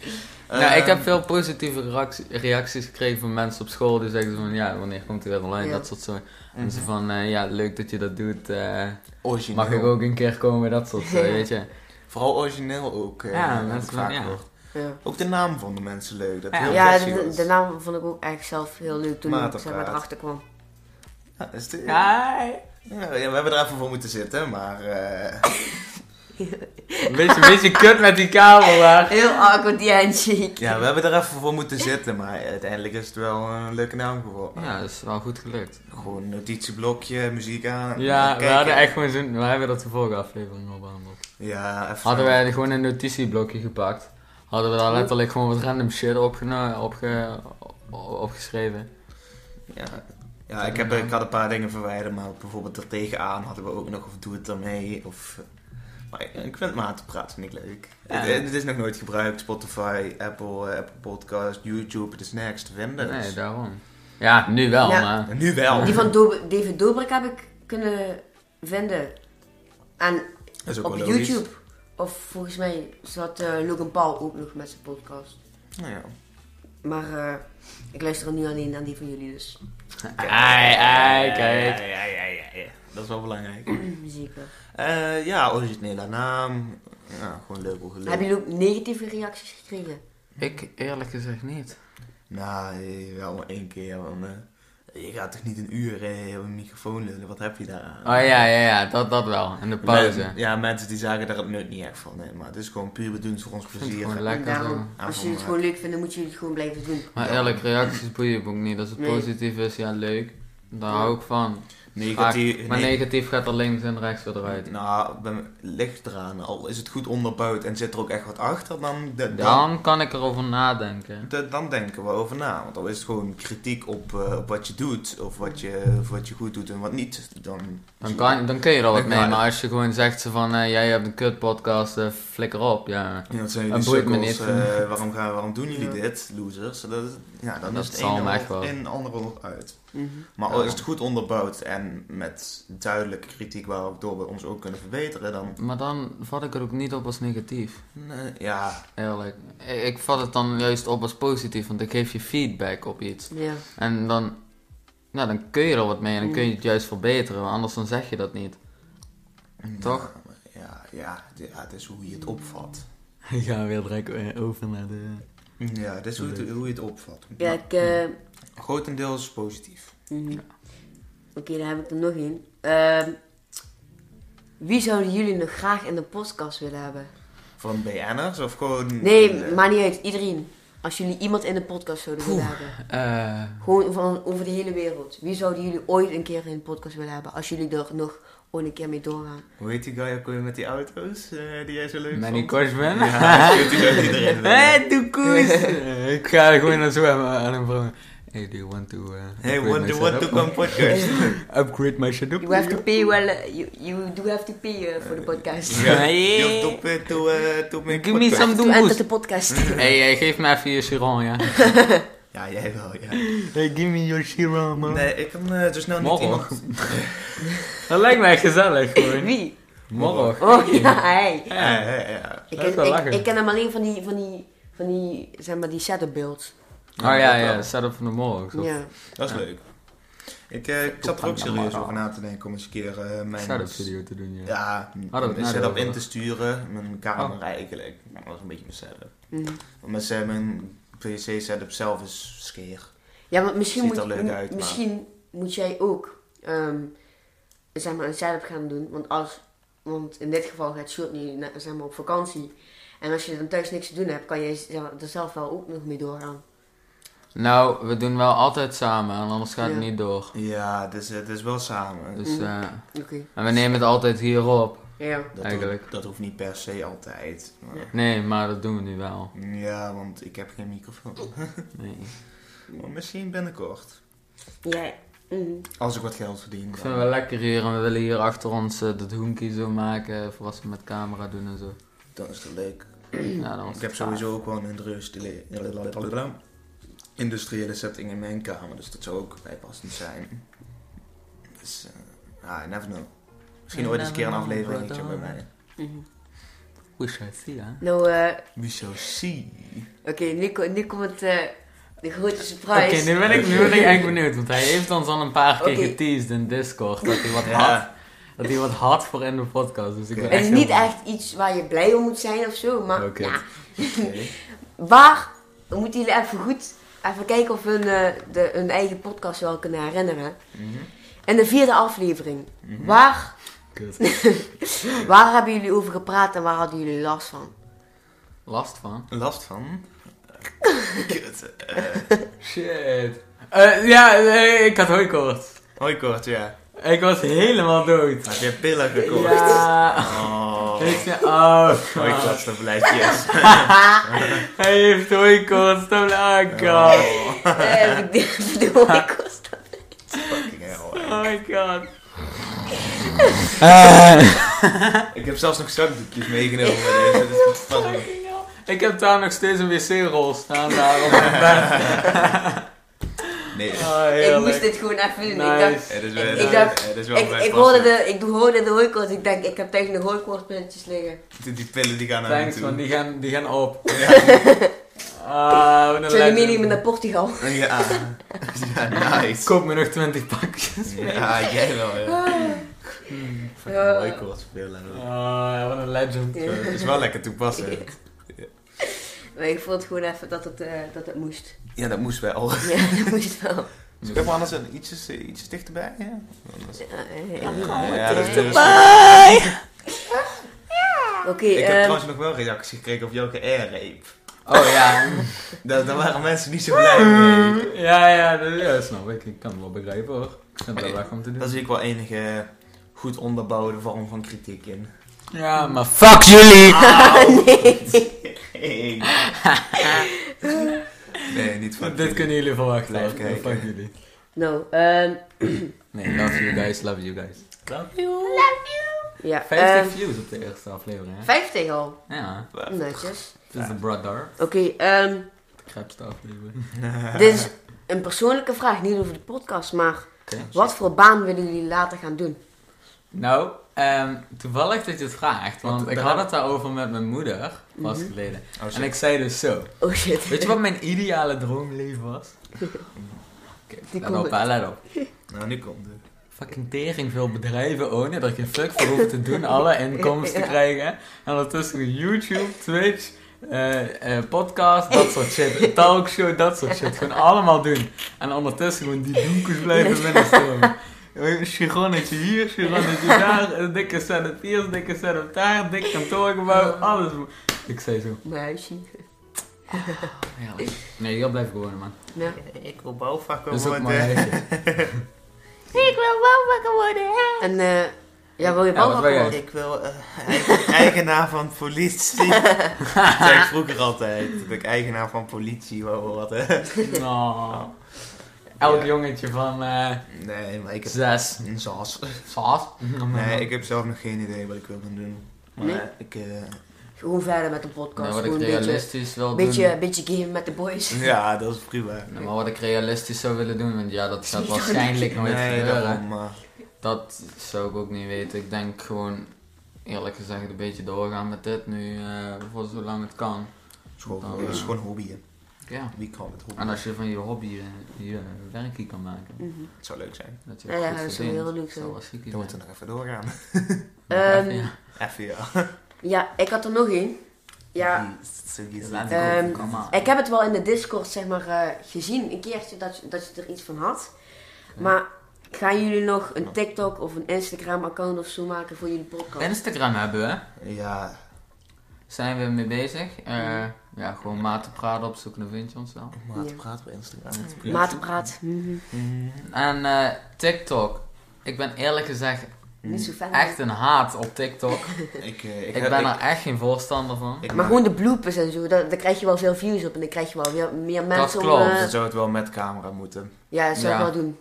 Speaker 4: nou, ik
Speaker 1: Ehm,
Speaker 4: heb veel positieve reactie- reacties gekregen van mensen op school. Die zeggen van, ja, wanneer komt hij weer online?
Speaker 3: Ja.
Speaker 4: Dat soort zo. En ze van, eh, ja, leuk dat je dat doet. eh,
Speaker 1: Origineel.
Speaker 4: mag ik ook een keer komen? Dat soort zo, weet je.
Speaker 1: Vooral origineel ook. eh,
Speaker 4: Ja,
Speaker 1: heb
Speaker 4: mensen
Speaker 1: ik vaak
Speaker 4: van- ja.
Speaker 1: gehoord.
Speaker 3: Ja.
Speaker 1: Ook de naam vonden mensen leuk. Dat
Speaker 4: Ja.
Speaker 1: heel
Speaker 3: Ja,
Speaker 1: catchy
Speaker 3: de,
Speaker 1: was.
Speaker 3: de naam vond ik ook eigenlijk zelf heel leuk toen ik
Speaker 1: Matenkaart.
Speaker 3: zeg maar, erachter kwam.
Speaker 1: Ja, dat is de-
Speaker 4: Ja.
Speaker 1: Nou, ja, we hebben er even voor moeten zitten, maar... eh,
Speaker 4: Een beetje, een beetje kut met die kabel daar.
Speaker 3: Heel awkward die handshake.
Speaker 1: ja, we hebben er even voor moeten zitten, maar uiteindelijk is het wel een leuke naam geworden.
Speaker 4: Ja, dat is wel goed gelukt.
Speaker 1: Gewoon een notitieblokje, muziek aan.
Speaker 4: Ja, we
Speaker 1: kijken.
Speaker 4: hadden echt gewoon zo'n... We hebben dat de vorige aflevering al behandeld.
Speaker 1: Ja, even...
Speaker 4: Hadden wij gewoon een notitieblokje gepakt. Hadden we daar letterlijk gewoon wat random shit opgeno- opge- op- opgeschreven.
Speaker 1: Ja, ja ik, heb, ik had een paar dingen verwijderd, maar bijvoorbeeld er tegenaan hadden we ook nog... Of doe het daarmee, of... eh, Maar ik- ik vind maat te praten, vind ik leuk.
Speaker 4: Ja.
Speaker 1: Het, het is nog nooit gebruikt. Spotify, Apple, eh, Apple Podcast, YouTube, het is nergens te vinden. dus-
Speaker 4: Nee, daarom. Ja, nu wel,
Speaker 3: Ja.
Speaker 4: maar...
Speaker 1: En nu wel.
Speaker 3: Die van Dobe- David Dobrik heb ik kunnen vinden. En
Speaker 1: Dat is ook
Speaker 3: op
Speaker 1: wel logisch.
Speaker 3: YouTube. Of volgens mij zat eh, Logan Paul ook nog met zijn podcast.
Speaker 1: Nou ja.
Speaker 3: Maar eh, ik luister nu alleen aan die van jullie, dus
Speaker 4: Ai, ai, kijk.
Speaker 1: Ja, ja, ja, ja, ja. Dat is wel belangrijk.
Speaker 3: zeker.
Speaker 1: Eh, ja, originele naam. Ja, gewoon leuk hoe
Speaker 3: Hebben
Speaker 1: geluk.
Speaker 3: jullie ook negatieve reacties gekregen?
Speaker 4: Ik eerlijk gezegd niet.
Speaker 1: Nou, eh, wel maar één keer, want eh, je gaat toch niet een uur eh, op een microfoon lullen? Wat heb je daar aan?
Speaker 4: Oh ja, ja, ja, dat, dat wel. En de pauze.
Speaker 1: Men- ja, mensen die zagen daar het nut niet echt van. Nee, maar het is gewoon puur bedoeld voor ons
Speaker 4: Ik vind het gewoon
Speaker 1: plezier.
Speaker 3: En
Speaker 4: lekker zo.
Speaker 3: daarom,
Speaker 1: Ja,
Speaker 3: als
Speaker 1: voor
Speaker 3: jullie het
Speaker 1: mij.
Speaker 3: gewoon leuk vinden, moet jullie het gewoon blijven doen.
Speaker 4: Maar eerlijk, reacties boeien me ook niet. Als het
Speaker 3: Nee.
Speaker 4: positief is, ja leuk. Daar
Speaker 3: Ja.
Speaker 4: hou ik van.
Speaker 1: Negatief.
Speaker 4: maar
Speaker 1: nee-
Speaker 4: negatief gaat er links en rechts weer eruit.
Speaker 1: Nou, bij me- ligt eraan. Al is het goed onderbouwd en zit er ook echt wat achter, dan, de- dan,
Speaker 4: Dan kan ik erover nadenken.
Speaker 1: de- dan denken we over na. Want al is het gewoon kritiek op, eh, op wat je doet, of wat je, of wat je goed doet en wat niet, dan...
Speaker 4: Dan, kan, dan kun je er wat
Speaker 1: Ik
Speaker 4: mee,
Speaker 1: ga-
Speaker 4: maar als je gewoon zegt ze van eh, jij hebt een kut podcast, eh, flikker op. Ja,
Speaker 1: Ja, dat zijn
Speaker 4: Dat
Speaker 1: jullie
Speaker 4: boeit me
Speaker 1: sukkels,
Speaker 4: niet.
Speaker 1: eh, waarom, gaan, waarom doen jullie
Speaker 3: Ja.
Speaker 1: dit, losers? Dat, is- ja, dan
Speaker 4: Dat
Speaker 1: is het
Speaker 4: zal
Speaker 1: een
Speaker 4: me
Speaker 1: en
Speaker 4: echt wel.
Speaker 1: ander- een en ander erop uit.
Speaker 3: Mhm.
Speaker 1: Maar al
Speaker 4: Ja.
Speaker 1: is het goed onderbouwd en met duidelijke kritiek waardoor we ons ook kunnen verbeteren, dan...
Speaker 4: maar dan vat ik het ook niet op als negatief.
Speaker 1: Nee, ja,
Speaker 4: Eerlijk. Ik, ik vat het dan juist op als positief, want ik geef je feedback op iets.
Speaker 3: Ja.
Speaker 4: En dan, nou, dan kun je er wat mee en dan
Speaker 3: Mm.
Speaker 4: kun je het juist verbeteren, want anders dan zeg je dat niet. Toch?
Speaker 1: Ja, ja, ja, het is hoe je het opvat.
Speaker 4: Ik ga weer direct eh, over naar de...
Speaker 1: Ja, dat is hoe, het, hoe je het opvat.
Speaker 3: Ja, ik, eh,
Speaker 1: Grotendeels positief.
Speaker 3: mhm. Oké, daar heb ik er nog één. Ehm, wie zouden jullie nog graag in de podcast willen hebben?
Speaker 1: Van BN'ers of gewoon...
Speaker 3: Nee,
Speaker 1: eh,
Speaker 3: maakt niet uit. Iedereen. Als jullie iemand in de podcast zouden willen hebben.
Speaker 4: Eh,
Speaker 3: Gewoon van over de hele wereld. Wie zouden jullie ooit een keer in de podcast willen hebben? Als jullie er nog ooit een keer mee doorgaan.
Speaker 1: Hoe heet die guy ook weer met die auto's eh, die jij zo leuk
Speaker 4: Manny
Speaker 1: vond?
Speaker 4: Korsman.
Speaker 1: Ja, ik weet niet of iedereen wil.
Speaker 4: Hé, doe koers! ik ga er gewoon naartoe aan aan hem vragen. Hey, do you want to... eh,
Speaker 1: Hey,
Speaker 4: upgrade
Speaker 1: what
Speaker 4: my
Speaker 1: the what the
Speaker 4: setup? Oh,
Speaker 1: one podcast.
Speaker 4: Upgrade my setup?
Speaker 3: You have to pay well. eh, you, you do have to pay eh, for the podcast.
Speaker 4: Ja.
Speaker 1: Je hebt op eh, to, eh, to make
Speaker 4: Give me
Speaker 1: podcast.
Speaker 4: some
Speaker 3: To enter
Speaker 4: doemboes.
Speaker 3: the podcast.
Speaker 4: Hey, hey, geef me even je siron, ja.
Speaker 1: Ja, jij wel, ja.
Speaker 4: Hey, give me your siron,
Speaker 1: Nee, ik kan eh, zo snel niet
Speaker 4: Morgen.
Speaker 1: iemand...
Speaker 4: Dat lijkt mij gezellig, gewoon.
Speaker 3: Wie?
Speaker 4: Morgen.
Speaker 3: Oh ja, hij.
Speaker 1: Ja, ja, ja.
Speaker 3: Ik,
Speaker 4: Leuk wel
Speaker 3: ik,
Speaker 4: lachen.
Speaker 3: ik ken hem alleen van die, van die, van die, zeg maar, die shadow builds.
Speaker 4: Oh ja, ja, setup van de morgen. zo.
Speaker 3: Ja.
Speaker 1: Dat is
Speaker 4: Ja.
Speaker 1: leuk. Ik, eh, ik zat er ook serieus over na te denken om eens een keer eh, mijn...
Speaker 4: Setup studio te doen, ja.
Speaker 1: Ja,
Speaker 4: we het
Speaker 1: mijn
Speaker 4: net
Speaker 1: setup
Speaker 4: over? Oh.
Speaker 1: in te sturen. Mijn camera eigenlijk. Dat was een beetje mijn setup.
Speaker 3: Mhm.
Speaker 1: Want mijn, se- mijn PC-setup zelf is skeer.
Speaker 3: Ja, want misschien,
Speaker 1: Ziet
Speaker 3: moet,
Speaker 1: er leuk
Speaker 3: m-
Speaker 1: uit, maar-
Speaker 3: misschien moet jij ook ehm, zeg maar een setup gaan doen. Want, als, want in dit geval gaat Short nu na- zeg maar, op vakantie. En als je dan thuis niks te doen hebt, kan jij zeg maar, er zelf wel ook nog mee doorgaan.
Speaker 4: Nou, we doen wel altijd samen, en anders gaat het
Speaker 3: Ja.
Speaker 4: niet door.
Speaker 1: Ja, het is, het is wel samen.
Speaker 4: Dus, eh,
Speaker 3: Oké.
Speaker 4: en we nemen het altijd hierop.
Speaker 3: Ja.
Speaker 1: dat,
Speaker 4: eigenlijk.
Speaker 1: Hoeft, dat hoeft niet per se altijd. maar-
Speaker 3: Ja.
Speaker 4: Nee, maar dat doen we nu wel.
Speaker 1: Ja, want ik heb geen microfoon.
Speaker 4: Nee.
Speaker 1: Maar misschien binnenkort.
Speaker 3: Ja. mhm.
Speaker 1: Als ik wat geld verdien.
Speaker 4: Ik
Speaker 1: dan.
Speaker 4: vind het wel lekker hier en we willen hier achter ons eh, dat hoenkie zo maken voor als we met camera doen en zo.
Speaker 1: Dat is toch leuk.
Speaker 4: Ja, dan was
Speaker 1: Ik heb
Speaker 4: het
Speaker 1: sowieso ook wel een industriële, industriële setting in mijn kamer, dus dat zou ook bijpassend zijn. Dus, eh ah, I never know. Misschien
Speaker 4: I
Speaker 1: ooit eens een keer een
Speaker 4: never know,
Speaker 1: afleveringetje bij
Speaker 4: brother.
Speaker 1: mij.
Speaker 3: Mhm.
Speaker 4: gaaf. Wish I see, hè?
Speaker 3: Nou, eh,
Speaker 1: We shall see.
Speaker 3: oké, nu, ko- nu komt het, eh, de grote
Speaker 4: Oké,
Speaker 3: surprise.
Speaker 4: nu ben ik, nu ben ik echt benieuwd, want hij heeft ons al een paar keer
Speaker 3: Oké.
Speaker 4: geteased in Discord dat hij wat had.
Speaker 1: Ja.
Speaker 4: Dat hij wat had voor in de podcast, dus ik ben
Speaker 1: Het
Speaker 3: Het
Speaker 4: echt
Speaker 3: is
Speaker 4: heel
Speaker 3: niet
Speaker 4: benieuwd.
Speaker 3: echt iets waar je blij om moet zijn of zo, maar
Speaker 4: Oké.
Speaker 3: ja.
Speaker 1: Oké.
Speaker 3: Waar moeten jullie even goed even kijken of hun eh, de, hun eigen podcast wel kunnen herinneren?
Speaker 1: Mhm.
Speaker 3: In de vierde aflevering,
Speaker 1: Mhm.
Speaker 3: waar,
Speaker 4: Kut.
Speaker 3: waar hebben jullie over gepraat en waar hadden jullie last van?
Speaker 4: Last van.
Speaker 1: Last van? Kut.
Speaker 4: Shit. Eh, ja, nee, ik had hooikoorts.
Speaker 1: Hoi kort, ja.
Speaker 4: Ik was helemaal dood.
Speaker 1: Heb je pillen gekocht?
Speaker 4: Ja.
Speaker 1: Oh.
Speaker 4: Ik zei, oh.
Speaker 1: Hoi kort, dat blijft yes.
Speaker 4: Hij heeft hooikoorts, dan oh god.
Speaker 3: Eh, bedoel, ik was dat.
Speaker 1: Fucking hell.
Speaker 4: Oh my god.
Speaker 3: Eh.
Speaker 1: Ik heb zelfs nog zakdoekjes meegenomen. dus dat is niet van-
Speaker 4: Ik heb daar nog steeds een wc-rol staan daar op mijn bed.
Speaker 1: Nee.
Speaker 4: Oh,
Speaker 3: Ik moest
Speaker 4: heerlijk.
Speaker 3: dit gewoon even doen. Ik, dacht,
Speaker 4: Nice.
Speaker 1: Het is
Speaker 3: Ik-
Speaker 1: wel,
Speaker 3: ik dacht-
Speaker 1: het is wel
Speaker 3: ik,
Speaker 1: best
Speaker 3: ik hoorde
Speaker 1: lastig.
Speaker 3: de, ik hoorde de hooikoorts. Ik denk, ik heb tegen de hooikoortspilletjes liggen.
Speaker 1: Die pillen die gaan naar hem
Speaker 4: Thanks
Speaker 1: toe.
Speaker 4: man, die gaan, die gaan op.
Speaker 1: Ja.
Speaker 4: Ah, Ah, wat een
Speaker 3: Zijn
Speaker 4: lekker.
Speaker 3: minimum naar Portugal.
Speaker 1: Ja, ja nice.
Speaker 4: Koop me nog 20 pakjes.
Speaker 1: Ja, jij wel, ja. Fucking
Speaker 3: Ja.
Speaker 1: Michael was veel aan het-
Speaker 4: Ah, wat een legend.
Speaker 3: Ja.
Speaker 1: Het is wel lekker toepassend.
Speaker 3: Maar ik voelde gewoon even dat het, eh, dat het moest.
Speaker 1: Ja, dat moest wel.
Speaker 3: Ja, dat moest wel.
Speaker 1: Dus ik heb anders een ietsjes, eh, ietsjes dichterbij, ja? Anders-
Speaker 3: Ja, eh,
Speaker 1: Ja,
Speaker 3: ja.
Speaker 1: ja, dat is
Speaker 3: Bye. Oké,
Speaker 1: Ik heb
Speaker 3: ehm,
Speaker 1: trouwens nog wel reacties gekregen op Joke Airreep.
Speaker 4: Oh ja.
Speaker 1: Daar, daar waren mensen niet zo blij mee.
Speaker 4: Ja, ja, dat ja, snap ik. Ik kan het wel begrijpen hoor. Ik vind het wel leuk om te doen.
Speaker 1: Daar zie ik wel enige goed onderbouwde vorm van kritiek in.
Speaker 4: Ja, maar fuck jullie!
Speaker 1: Nee. nee, niet van
Speaker 4: Dit kunnen jullie verwachten.
Speaker 1: Blijf
Speaker 4: hoor.
Speaker 1: kijken.
Speaker 4: Fuck jullie.
Speaker 3: nou, ehm,
Speaker 4: Nee, love you guys, love you guys.
Speaker 3: ja.
Speaker 4: 50
Speaker 3: ehm,
Speaker 4: views op de eerste aflevering, hè?
Speaker 3: 50 al.
Speaker 4: Ja,
Speaker 3: Netjes.
Speaker 4: dit is de brother.
Speaker 3: Oké, ehm,
Speaker 4: De Krapste aflevering.
Speaker 3: dit is een persoonlijke vraag, niet over de podcast, maar
Speaker 4: Oké.
Speaker 3: wat voor baan willen jullie later gaan doen?
Speaker 4: Nou, ehm, toevallig dat je het vraagt, want
Speaker 1: Want
Speaker 4: ik
Speaker 1: daar-
Speaker 4: had het daarover met mijn moeder, vast
Speaker 3: Mhm.
Speaker 4: geleden. En ik zei dus zo.
Speaker 3: Oh shit.
Speaker 4: Weet je wat mijn ideale droomleven was? Oké,
Speaker 3: Die
Speaker 4: let
Speaker 3: komt
Speaker 4: op, hè, let op.
Speaker 1: Nou, nu komt het.
Speaker 4: Fucking tering veel bedrijven ownen, dat ik geen fuck voor hoef te doen, alle inkomsten
Speaker 3: Ja.
Speaker 4: krijgen. En ondertussen YouTube, Twitch, eh, eh, podcast, dat soort shit, talkshow, dat soort shit. Gewoon allemaal doen. En ondertussen gewoon die doekjes blijven binnenstromen. Een Chironnetje hier, chironnetje daar, een dikke setup hier, een dikke setup daar, dik kantoorgebouw, alles. Ik zei zo.
Speaker 3: Mijn huisje.
Speaker 4: Heerlijk. Nee, hier blijf ik wonen, man.
Speaker 3: Ja.
Speaker 1: Ik wil bouwvakker
Speaker 4: Dat is ook
Speaker 1: worden.
Speaker 4: mijn huisje.
Speaker 3: Ik wil bouwvakker worden. En eh, ja, wil je
Speaker 4: Ja, wat wil
Speaker 3: bouwvakker
Speaker 4: jij?
Speaker 3: worden?
Speaker 1: Ik wil eh, eigen- eigenaar van politie. dat zei ik vroeger altijd. Dat ik eigenaar van politie wou worden.
Speaker 4: Oh. Elk jongetje van eh
Speaker 1: Nee, maar ik heb...
Speaker 4: zes.
Speaker 1: Een Zas.
Speaker 4: Saas?
Speaker 3: Mhm.
Speaker 1: Nee, ik heb zelf nog geen idee wat ik wil gaan doen. Maar
Speaker 3: Nee?
Speaker 1: ik... eh,
Speaker 3: Gewoon verder met de podcast.
Speaker 4: Nou, wat ik
Speaker 3: Gewoon een beetje,
Speaker 4: realistisch wil
Speaker 3: beetje, beetje game met de boys.
Speaker 1: ja, dat is prima.
Speaker 4: doen. Nou, maar wat ik realistisch zou willen doen, want ja, dat gaat
Speaker 3: Niet
Speaker 4: waarschijnlijk nooit
Speaker 1: Nee,
Speaker 4: gebeuren.
Speaker 1: daarom. maar-
Speaker 4: Dat zou ik ook niet weten. Ik denk gewoon, eerlijk gezegd, een beetje doorgaan met dit nu, eh, voor zolang het kan.
Speaker 1: het is gewoon,
Speaker 4: Oh,
Speaker 1: het is
Speaker 4: ja.
Speaker 1: gewoon hobby. hè.
Speaker 4: Ja.
Speaker 1: Wie kan het hobby?
Speaker 4: En als je van je hobby eh, je werkje kan maken,
Speaker 3: Mhm.
Speaker 1: Het zou leuk zijn.
Speaker 4: dat je
Speaker 3: Ja, ja,
Speaker 4: goed
Speaker 3: dat zou
Speaker 4: verdient,
Speaker 3: heel
Speaker 4: zou
Speaker 3: leuk zijn.
Speaker 4: wel ziek
Speaker 1: Dan moeten we nog even doorgaan.
Speaker 4: zijn.
Speaker 3: Ehm,
Speaker 4: Ja,
Speaker 1: Even ja.
Speaker 3: Ja, ik had er nog één. Ja,
Speaker 4: laat
Speaker 3: Ehm,
Speaker 4: ik ook kan maken.
Speaker 3: Ik heb het wel in de Discord zeg maar eh, gezien, een keertje dat, je- dat je er iets van had. Maar gaan jullie nog een TikTok of een Instagram account of zo maken voor jullie podcast?
Speaker 4: Instagram hebben we.
Speaker 1: Ja,
Speaker 4: Zijn we mee bezig? Eh, ja, gewoon maat te praten opzoeken, dan vind je ons wel.
Speaker 1: maar
Speaker 3: Ja.
Speaker 1: te praten op Instagram.
Speaker 4: Ja.
Speaker 3: Matenpraat. mhm.
Speaker 1: Mm,
Speaker 4: En eh, TikTok. Ik ben eerlijk gezegd
Speaker 3: Niet zo fan.
Speaker 4: echt een haat op TikTok.
Speaker 1: Ik, eh,
Speaker 4: Ik
Speaker 1: ik,
Speaker 4: ben er echt geen voorstander van.
Speaker 1: ik-
Speaker 3: Maar gewoon de bloopers en zo, daar, daar krijg je wel veel views op en dan krijg je wel weer meer mensen om...
Speaker 4: klopt.
Speaker 1: Dan
Speaker 3: eh,
Speaker 1: zou het wel met camera moeten.
Speaker 3: ja, dat zou ik
Speaker 4: Ja.
Speaker 3: wel doen.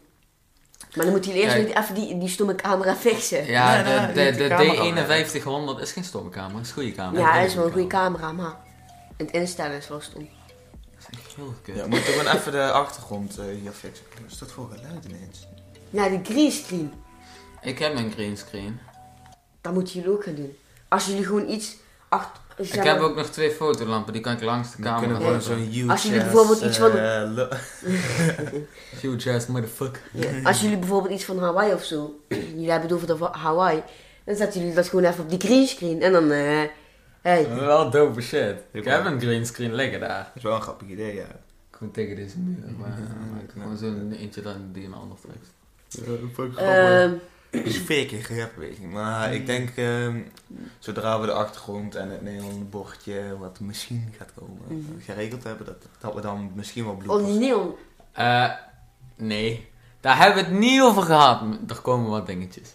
Speaker 3: Maar dan moet hij eerst
Speaker 4: Kijk.
Speaker 3: weer even die, die stomme camera fixen. Ja,
Speaker 4: Ja,
Speaker 1: Ja, nou,
Speaker 4: de, de,
Speaker 1: niet de
Speaker 4: de,
Speaker 1: camera,
Speaker 4: D5100 is geen stomme camera, is een goede camera.
Speaker 3: dat is wel een goede camera, maar het instellen is wel stom.
Speaker 4: Dat is echt heel kut.
Speaker 1: Ja, we moeten gewoon even de achtergrond eh, hier fixen. Wat is dat voor geluid ineens?
Speaker 3: Ja, die green screen.
Speaker 4: Ik heb een green screen.
Speaker 3: Dat moeten jullie ook gaan doen. Als jullie gewoon iets achter. zeg
Speaker 4: Ik
Speaker 3: maar-
Speaker 4: heb ook nog twee fotolampen, die kan ik langs de
Speaker 1: We kunnen
Speaker 4: camera
Speaker 1: gewoon
Speaker 4: zetten.
Speaker 1: zo'n huge eh,
Speaker 3: Als jullie bijvoorbeeld iets willen-
Speaker 4: Huge ass motherfucker.
Speaker 3: ja, als jullie bijvoorbeeld iets van Hawaii of zo. jullie hebben het over de va- Hawaii. Dan zetten jullie dat gewoon even op die green screen. En dan. eh hey.
Speaker 4: Wel dope shit. Ik
Speaker 1: Ik
Speaker 4: heb
Speaker 1: wel.
Speaker 4: een green screen liggen daar.
Speaker 1: Dat is wel een grappig idee, ja.
Speaker 4: Gewoon tegen deze muur, maar maar ik gewoon zo'n eentje dan die een ander trekt.
Speaker 3: ehm,
Speaker 1: Het is fake grappig, maar
Speaker 3: Mm.
Speaker 1: ik denk ehm, zodra we de achtergrond en het neon bordje wat misschien gaat komen
Speaker 3: Mhm.
Speaker 1: geregeld hebben, dat, dat we dan misschien wel
Speaker 3: oh, die
Speaker 1: bloepers.
Speaker 3: neon.
Speaker 4: Eh, nee. Daar hebben we het niet over gehad. Er komen wat dingetjes.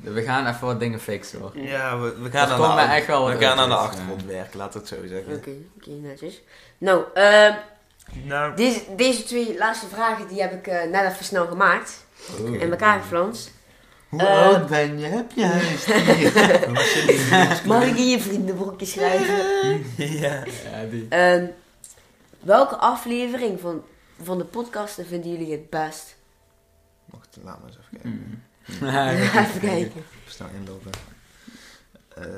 Speaker 4: We gaan even wat dingen fixen hoor.
Speaker 1: Ja, we, we
Speaker 4: Er
Speaker 1: gaan, aan de,
Speaker 4: komen
Speaker 1: acht-
Speaker 4: echt wel wat
Speaker 1: we gaan aan de
Speaker 4: updates,
Speaker 1: achtergrond werken, laat het zo
Speaker 3: Oké,
Speaker 1: zeggen.
Speaker 3: oké, netjes. Nou, ehm,
Speaker 1: Nou,
Speaker 3: deze, deze twee laatste vragen die heb ik eh, net even snel gemaakt. In elkaar geflanst.
Speaker 1: Hoe
Speaker 3: Eh,
Speaker 1: oud ben je? Heb je huisdier?
Speaker 3: Mag ik in je vriendenboekje schrijven?
Speaker 1: ja.
Speaker 4: Ja, die.
Speaker 3: Ehm, welke aflevering van, van de podcast vinden jullie het best?
Speaker 1: Mm. Wacht, laat maar eens even kijken.
Speaker 4: Hmm. Ja,
Speaker 3: even kijken.
Speaker 1: Even snel inlopen. Ehm,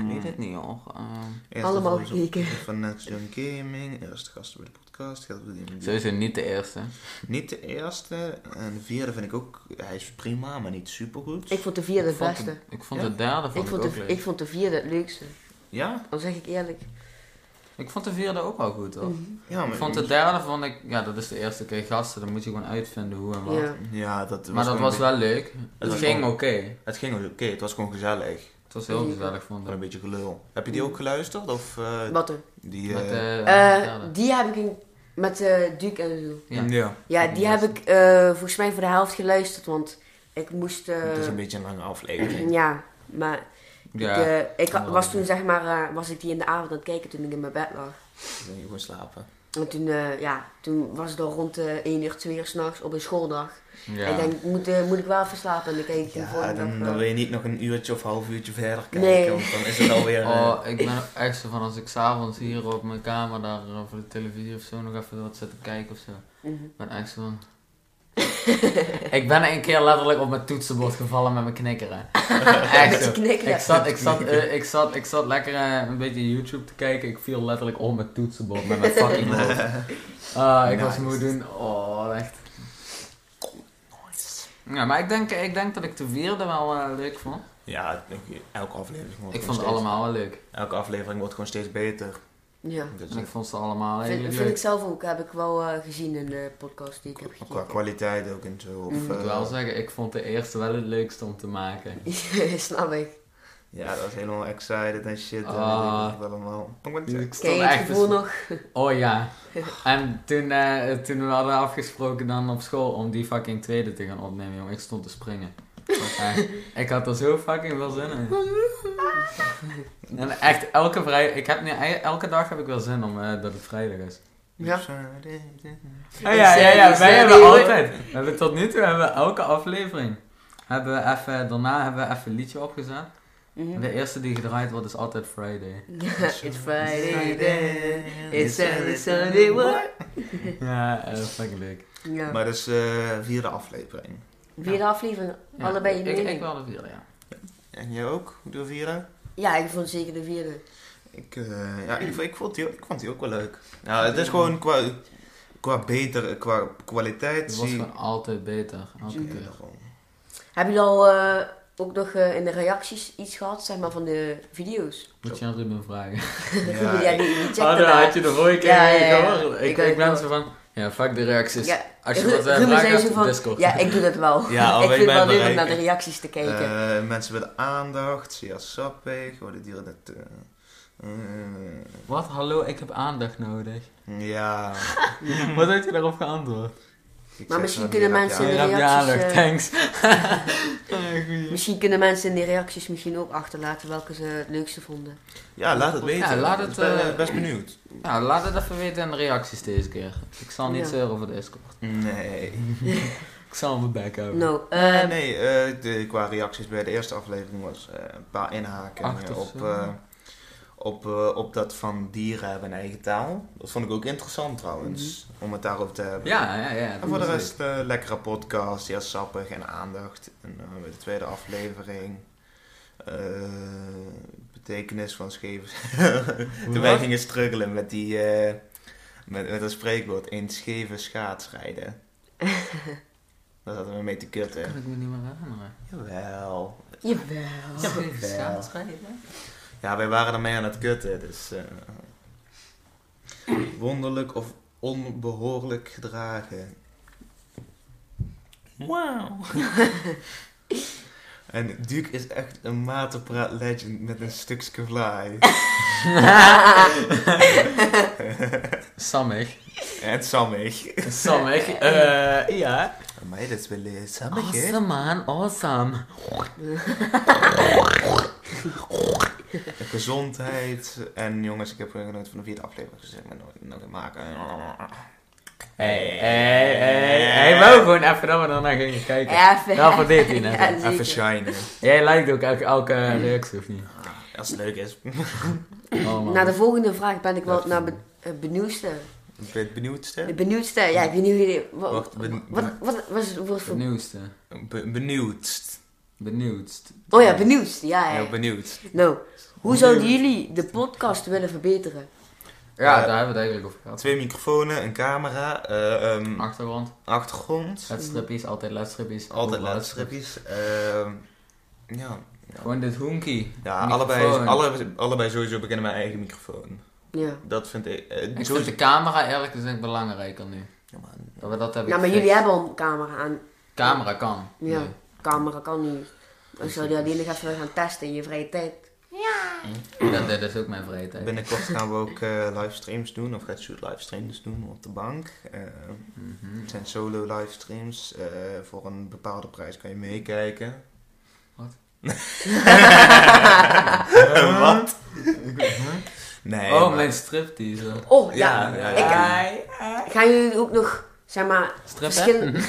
Speaker 4: Ik weet het niet hoor. Ehm,
Speaker 1: eerste
Speaker 3: Allemaal
Speaker 1: volgens op-
Speaker 3: gekeken.
Speaker 1: Van Next Gen Gaming, eerste gasten bij de podcast. Geld verdien met die-
Speaker 4: sowieso niet de eerste.
Speaker 1: Niet de eerste. En de vierde vind ik ook, hij is prima, maar niet supergoed.
Speaker 3: Ik vond de vierde het
Speaker 4: Ik vond
Speaker 3: beste.
Speaker 4: de- Ik vond
Speaker 1: Ja?
Speaker 4: de derde vond
Speaker 3: Ik
Speaker 4: ik,
Speaker 3: vond,
Speaker 4: ook
Speaker 3: de,
Speaker 4: leuk.
Speaker 3: ik vond de vierde het leukste.
Speaker 1: Ja?
Speaker 3: Dan zeg ik eerlijk.
Speaker 4: Ik vond de vierde ook wel goed hoor.
Speaker 3: Mhm.
Speaker 1: Ja,
Speaker 4: Ik vond de derde vond ik, ja dat is de eerste keer gasten, dan moet je gewoon uitvinden hoe en wat.
Speaker 3: Ja.
Speaker 1: Ja, dat was
Speaker 4: Maar dat
Speaker 1: gewoon
Speaker 4: was
Speaker 1: een
Speaker 4: wel leuk. Het
Speaker 1: was
Speaker 4: ging oké.
Speaker 1: gewoon- beetje- Het ging wel oké, het was gewoon gezellig.
Speaker 4: Het was heel
Speaker 3: Ja.
Speaker 4: gezellig vond
Speaker 1: Maar
Speaker 4: ik.
Speaker 1: een beetje gelul. Heb je die ook geluisterd? Of eh,
Speaker 3: Wat er?
Speaker 1: die...
Speaker 4: Met,
Speaker 1: eh,
Speaker 4: eh,
Speaker 3: Eh,
Speaker 4: derde.
Speaker 3: die heb ik in- met eh Duke en zo.
Speaker 4: ja.
Speaker 1: ja.
Speaker 3: Ja,
Speaker 4: Die
Speaker 3: die heb
Speaker 4: was-
Speaker 3: ik eh, volgens mij voor de helft geluisterd, want ik moest. eh,
Speaker 1: Het is een beetje een lange aflevering.
Speaker 3: ja, maar
Speaker 4: Ja.
Speaker 3: ik, eh, ik
Speaker 4: kan wel
Speaker 3: was
Speaker 4: een
Speaker 3: toen zeg maar, eh, was ik die in de avond aan het kijken toen ik in mijn bed lag.
Speaker 1: Dan ging je gewoon slapen.
Speaker 3: En toen, eh, ja, toen was het al rond de 1 uur, 2 uur s'nachts op een schooldag. En
Speaker 4: ja.
Speaker 3: ik denk, moet, eh, moet ik wel even slapen? En dan kijk ik de
Speaker 1: Ja,
Speaker 3: volgende
Speaker 1: dan,
Speaker 3: dag
Speaker 1: dan
Speaker 3: wel.
Speaker 1: wil je niet nog een uurtje of half uurtje verder kijken,
Speaker 3: Nee.
Speaker 1: want dan is het alweer... eh,
Speaker 4: Oh, ik ben ook echt zo van als ik s'avonds hier op mijn kamer daar eh, voor de televisie of zo nog even wat zit te kijken of zo.
Speaker 3: Mhm.
Speaker 4: Ik ben echt zo van... ik ben een keer letterlijk op mijn toetsenbord gevallen met mijn knikkeren. echt zo.
Speaker 3: Met je knikkeren.
Speaker 4: Ik zat, ik, zat, eh, ik, zat, ik zat lekker eh, een beetje YouTube te kijken. Ik viel letterlijk om mijn toetsenbord met mijn fucking hoofd. Ah, ik was
Speaker 1: Nice.
Speaker 4: moe doen. Oh, echt. Ja, maar ik denk, ik denk dat ik de vierde wel eh, leuk vond.
Speaker 1: Ja, ik- elke aflevering wordt
Speaker 4: Ik
Speaker 1: gewoon
Speaker 4: vond het
Speaker 1: steeds-
Speaker 4: allemaal wel leuk.
Speaker 1: Elke aflevering wordt gewoon steeds beter.
Speaker 3: Ja.
Speaker 1: Dus,
Speaker 4: En ik vond ze allemaal
Speaker 3: Vind,
Speaker 4: eigenlijk
Speaker 3: vind
Speaker 4: leuk.
Speaker 3: ik zelf ook, heb ik wel eh, gezien in de podcast die ik heb
Speaker 1: eh, qua
Speaker 3: gekeken.
Speaker 1: kwaliteit ook en zo. Of,
Speaker 3: Mm.
Speaker 4: Ik moet
Speaker 1: eh,
Speaker 4: wel zeggen, ik vond de eerste wel het leukste om te maken.
Speaker 3: Snap ik.
Speaker 1: Ja, dat was helemaal excited en shit. en
Speaker 4: Ah.
Speaker 1: weet ik wat allemaal. Ik ben
Speaker 4: Ik
Speaker 3: Ken
Speaker 4: stond
Speaker 3: je het
Speaker 4: echt...
Speaker 3: gevoel nog?
Speaker 4: Oh ja. En toen, eh, toen we hadden afgesproken dan op school om die fucking tweede te gaan opnemen, jongen. Ik stond te springen. Eh, ik had er zo fucking veel zin in. En echt elke vrij... Ik heb nu, e- elke dag heb ik wel zin om eh, dat het vrijdag is.
Speaker 3: Ja.
Speaker 4: Oh ja, ja,
Speaker 3: Serie,
Speaker 4: ja, wij
Speaker 3: serie,
Speaker 4: hebben
Speaker 3: hoor.
Speaker 4: altijd. We hebben tot nu toe hebben we elke aflevering. Hebben we even, daarna hebben we even een liedje opgezet. En
Speaker 3: Mhm.
Speaker 4: de eerste die gedraaid wordt is altijd Friday.
Speaker 3: It's Friday then. It's Saturday, Sunday, what?
Speaker 4: Ja, eh, fucking leuk.
Speaker 3: Ja.
Speaker 1: Maar dat is eh vierde aflevering.
Speaker 3: Vierde aflevering,
Speaker 4: Ja,
Speaker 3: allebei je
Speaker 4: ik,
Speaker 3: mening.
Speaker 4: ik wel de vierde, ja.
Speaker 1: En jij ook, de vierde?
Speaker 3: Ja, ik vond zeker de vierde.
Speaker 1: Ik, eh, ja, ik, ik, vond die, ik vond die ook wel leuk. Ja, het is gewoon qua, qua beter, qua kwaliteit
Speaker 4: Het was
Speaker 1: zie ik...
Speaker 4: gewoon altijd beter. Elke
Speaker 1: Ja,
Speaker 4: keer.
Speaker 1: gewoon.
Speaker 3: Hebben jullie al eh, ook nog eh, in de reacties iets gehad, zeg maar, van de video's?
Speaker 4: Moet je aan Ruben vragen.
Speaker 1: Ja,
Speaker 3: ja,
Speaker 1: ik-
Speaker 3: die, die checkten
Speaker 4: Oh, daar
Speaker 3: daar.
Speaker 4: had je de vorige keer
Speaker 3: Ja,
Speaker 4: mee
Speaker 3: ja, ja.
Speaker 4: gehoord.
Speaker 3: Ik
Speaker 4: Ik,
Speaker 3: weet
Speaker 4: ik ben
Speaker 3: wel.
Speaker 4: zo van... Ja, fuck de reacties.
Speaker 3: Ja.
Speaker 4: Als je
Speaker 3: Ru-
Speaker 4: wat eh,
Speaker 3: Ruben
Speaker 4: vragen
Speaker 3: zei
Speaker 4: hebt,
Speaker 3: zo van,
Speaker 4: Discord.
Speaker 3: ja, ik doe dat wel.
Speaker 1: Ja, al
Speaker 3: ik
Speaker 1: ben
Speaker 3: vind
Speaker 1: je
Speaker 3: het
Speaker 1: bij
Speaker 3: wel leuk om
Speaker 1: bereik.
Speaker 3: naar de reacties te kijken.
Speaker 1: Eh, mensen willen aandacht, Sia Sappig, oh, dit dieren net... eh, eh,
Speaker 4: Wat? Hallo, ik heb aandacht nodig.
Speaker 1: ja.
Speaker 4: wat had je daarop geantwoord?
Speaker 1: Ik
Speaker 3: Maar
Speaker 1: zeg
Speaker 3: misschien
Speaker 1: van,
Speaker 3: kunnen
Speaker 1: ja,
Speaker 4: Ja,
Speaker 3: mensen-
Speaker 1: ja.
Speaker 4: je hebt je
Speaker 3: reacties,
Speaker 4: aandacht,
Speaker 3: eh,
Speaker 4: thanks. Eh, goeie.
Speaker 3: Misschien kunnen mensen in de reacties misschien ook achterlaten welke ze het leukste vonden.
Speaker 1: Ja, laat het weten.
Speaker 4: Ja, laat het,
Speaker 1: Ik ben eh,
Speaker 4: eh,
Speaker 1: best benieuwd.
Speaker 4: Nou, laat het even weten in de reacties deze keer. Ik zal niet
Speaker 3: Ja.
Speaker 4: zeuren over Discord.
Speaker 1: Nee.
Speaker 4: Ik zal mijn bek houden.
Speaker 3: Nou,
Speaker 1: Eh,
Speaker 4: Ehm,
Speaker 3: eh,
Speaker 1: nee, eh, de, qua reacties bij de eerste aflevering was eh, een paar
Speaker 4: Acht
Speaker 1: inhakingen
Speaker 4: of
Speaker 1: op,
Speaker 4: zo.
Speaker 1: eh, op, eh, op dat van dieren hebben een eigen taal. Dat vond ik ook interessant trouwens,
Speaker 3: Mhm.
Speaker 1: om het daarover te hebben.
Speaker 4: Ja, ja, ja.
Speaker 1: En voor de rest, eh, lekkere podcast, ja, sappig en aandacht. En eh, bij de tweede aflevering, eh, betekenis van scheef. Toen wij
Speaker 4: Wat?
Speaker 1: gingen struggelen met die, eh, met, met dat spreekwoord, in scheve schaatsrijden. Daar zaten we mee te
Speaker 4: Dat
Speaker 1: kutten.
Speaker 4: kan ik me niet meer herinneren.
Speaker 1: Jawel.
Speaker 3: jawel.
Speaker 4: Ja,
Speaker 1: wel. Ja, wij waren ermee aan het kutten, dus... eh, wonderlijk of onbehoorlijk gedragen. Wauw. en Duke is echt een matenpraat legend met een stukje vlaai.
Speaker 4: Sammig.
Speaker 1: en sammig.
Speaker 4: Sammig. Eh, ja.
Speaker 1: Maar dat is wel eh, sammig, hè?
Speaker 4: Awesome man, awesome.
Speaker 1: Gezondheid. En jongens, ik heb er genoten van de vierde aflevering, dus ik ben nooit, nooit aan het maken.
Speaker 4: Hey, hey, hey. Hij wou gewoon even dat we daarna gingen kijken.
Speaker 3: Even.
Speaker 4: Daarvoor deed hij net.
Speaker 3: Ja,
Speaker 1: Even
Speaker 3: zeker.
Speaker 1: shinen.
Speaker 4: Jij lijkt ook elke, elke reactie, of niet?
Speaker 1: Ah, Als het leuk is.
Speaker 4: Oh man.
Speaker 3: Naar de volgende vraag ben ik wel
Speaker 1: Dat-
Speaker 3: naar be- eh, benieuwdste.
Speaker 1: Ik ben het benieuwdste.
Speaker 3: De benieuwdste, ja, ik heb geen idee. Wat,
Speaker 1: Wacht,
Speaker 3: wat,
Speaker 1: ben-
Speaker 3: wat, wat is het woord
Speaker 4: De
Speaker 3: voor
Speaker 4: nieuwste.
Speaker 1: Be- benieuwd.
Speaker 2: Benieuwd.
Speaker 3: Oh ja, benieuwd. Ja, ja.
Speaker 1: Heel benieuwd.
Speaker 3: Nou, hoe
Speaker 2: Benieuwd.
Speaker 3: zouden jullie de podcast willen verbeteren?
Speaker 2: Ja,
Speaker 1: Ja.
Speaker 2: daar hebben we het eigenlijk over gehad.
Speaker 1: Twee microfoons, een camera, eh, ehm,
Speaker 4: Achtergrond,
Speaker 1: achtergrond.
Speaker 4: ledstrippies, altijd ledstrippies.
Speaker 1: Altijd
Speaker 4: overal
Speaker 1: laadstripjes. ehm ja,
Speaker 2: Gewoon dit hoenkie.
Speaker 1: ja
Speaker 2: Microfoon.
Speaker 1: allebei, alle, allebei sowieso beginnen met mijn eigen microfoon.
Speaker 3: Ja.
Speaker 1: Dat vind ik... eh,
Speaker 4: Ik vind
Speaker 1: sowieso-
Speaker 4: de camera eerlijk gezegd belangrijker nu.
Speaker 1: Ja, maar-
Speaker 4: Dat we dat hebben
Speaker 3: Nou, maar jullie
Speaker 4: gefixt.
Speaker 3: hebben al een camera aan.
Speaker 4: Camera kan.
Speaker 3: Ja,
Speaker 4: Nee.
Speaker 3: camera kan niet. Dan zou je die alleen nog even gaan testen in je vrije tijd.
Speaker 4: Dat, dat is ook mijn vrije tijd.
Speaker 1: Binnenkort gaan we ook eh, livestreams doen, of gaat Shoot livestreams doen op de bank. Eh,
Speaker 4: Mhm.
Speaker 1: het zijn solo livestreams. eh, voor een bepaalde prijs kan je meekijken.
Speaker 4: Wat?
Speaker 1: Wat? Nee.
Speaker 4: oh,
Speaker 1: maar-
Speaker 4: mijn striptease.
Speaker 3: Oh, ja.
Speaker 1: Ja, ja,
Speaker 3: Ik, eh,
Speaker 1: ja.
Speaker 3: Gaan jullie ook nog, zeg maar,
Speaker 4: Strip,
Speaker 3: verschillen-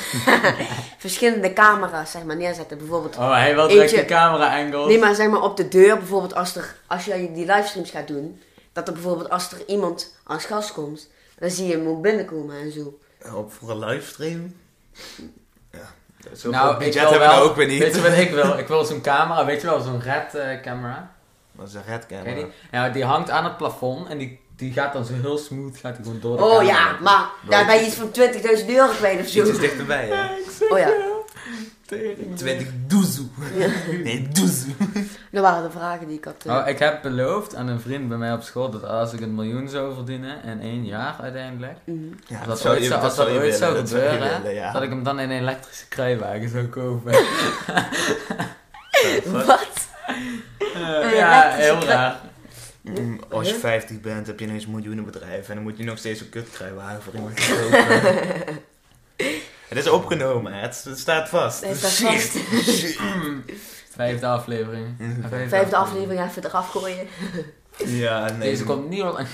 Speaker 3: verschillende camera's zeg maar, neerzetten? Bijvoorbeeld,
Speaker 4: Oh, hij wil
Speaker 3: direct
Speaker 4: direct
Speaker 3: Eentje. de
Speaker 4: de camera angle.
Speaker 3: nee, maar zeg maar op de deur, bijvoorbeeld als, er, als jij die livestreams gaat doen, dat er bijvoorbeeld als er iemand als gast komt, dan zie je hem ook binnenkomen en zo.
Speaker 1: Op voor een livestream? Ja. Zoveel
Speaker 4: nou, ik
Speaker 1: budget
Speaker 4: wil
Speaker 1: hebben we
Speaker 4: wel,
Speaker 1: nou ook weer niet.
Speaker 4: Weet je wat ik wil? Ik wil zo'n camera, weet je wel, zo'n red eh, camera.
Speaker 1: Dat is een redcam.
Speaker 4: Ken je die? Nou, die hangt aan het plafond en die, die gaat dan zo heel smooth, gaat die gewoon door de
Speaker 3: Oh
Speaker 4: camera.
Speaker 3: ja, maar daar ben je iets van 20.000 euro kwijt of zo.
Speaker 1: Iets is dichterbij, hè?
Speaker 3: Oh ja,
Speaker 1: 20 doezoe. Nee, doezoe.
Speaker 3: dat waren de vragen die ik had. eh.
Speaker 4: Oh, ik heb beloofd aan een vriend bij mij op school dat als ik een miljoen zou verdienen in één jaar uiteindelijk,
Speaker 3: Mhm.
Speaker 1: Ja,
Speaker 4: als dat, ooit zou, als dat
Speaker 1: je
Speaker 4: ooit zou
Speaker 1: willen, dat je
Speaker 4: gebeuren,
Speaker 1: willen, ja.
Speaker 4: dat ik hem dan in een elektrische kruiwagen zou kopen.
Speaker 3: Wat?
Speaker 4: Eh,
Speaker 3: Een
Speaker 4: ja,
Speaker 3: elektrische
Speaker 4: heel
Speaker 3: krui-
Speaker 4: raar.
Speaker 1: Mm, Als je 50 bent, heb je ineens een miljoenenbedrijf en dan moet je nog steeds een kutkruiwagen voor iemand kopen. Het is opgenomen, hè. het, het staat vast.
Speaker 3: Het staat vast.
Speaker 1: Shit.
Speaker 4: Vijfde aflevering. Vijfde,
Speaker 3: Vijfde aflevering even eraf gooien.
Speaker 1: Ja, nee.
Speaker 4: Deze komt niet online.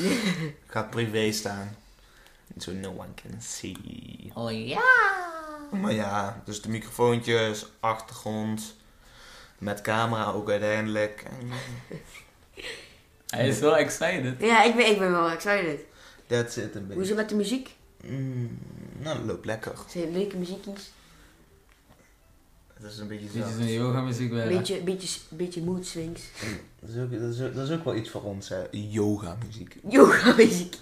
Speaker 1: Gaat privé staan. So no one can see.
Speaker 4: Oh ja.
Speaker 1: Maar ja, dus de microfoontjes, achtergrond, met camera ook uiteindelijk. En
Speaker 4: Hij is wel excited.
Speaker 3: Ja, ik ben, ik ben wel excited.
Speaker 1: That's it een
Speaker 3: Hoe is
Speaker 1: beetje.
Speaker 3: het met de muziek?
Speaker 1: Mm, nou, dat loopt lekker.
Speaker 3: Zijn er leuke muziekjes?
Speaker 1: Het is een beetje
Speaker 4: Dit is
Speaker 1: zacht.
Speaker 4: een yoga muziek weer.
Speaker 3: Beetje, beetje, beetje mood swings.
Speaker 1: Dat is, ook, dat, is ook, dat is ook wel iets voor ons, hè. Yoga muziek.
Speaker 3: Yoga muziek.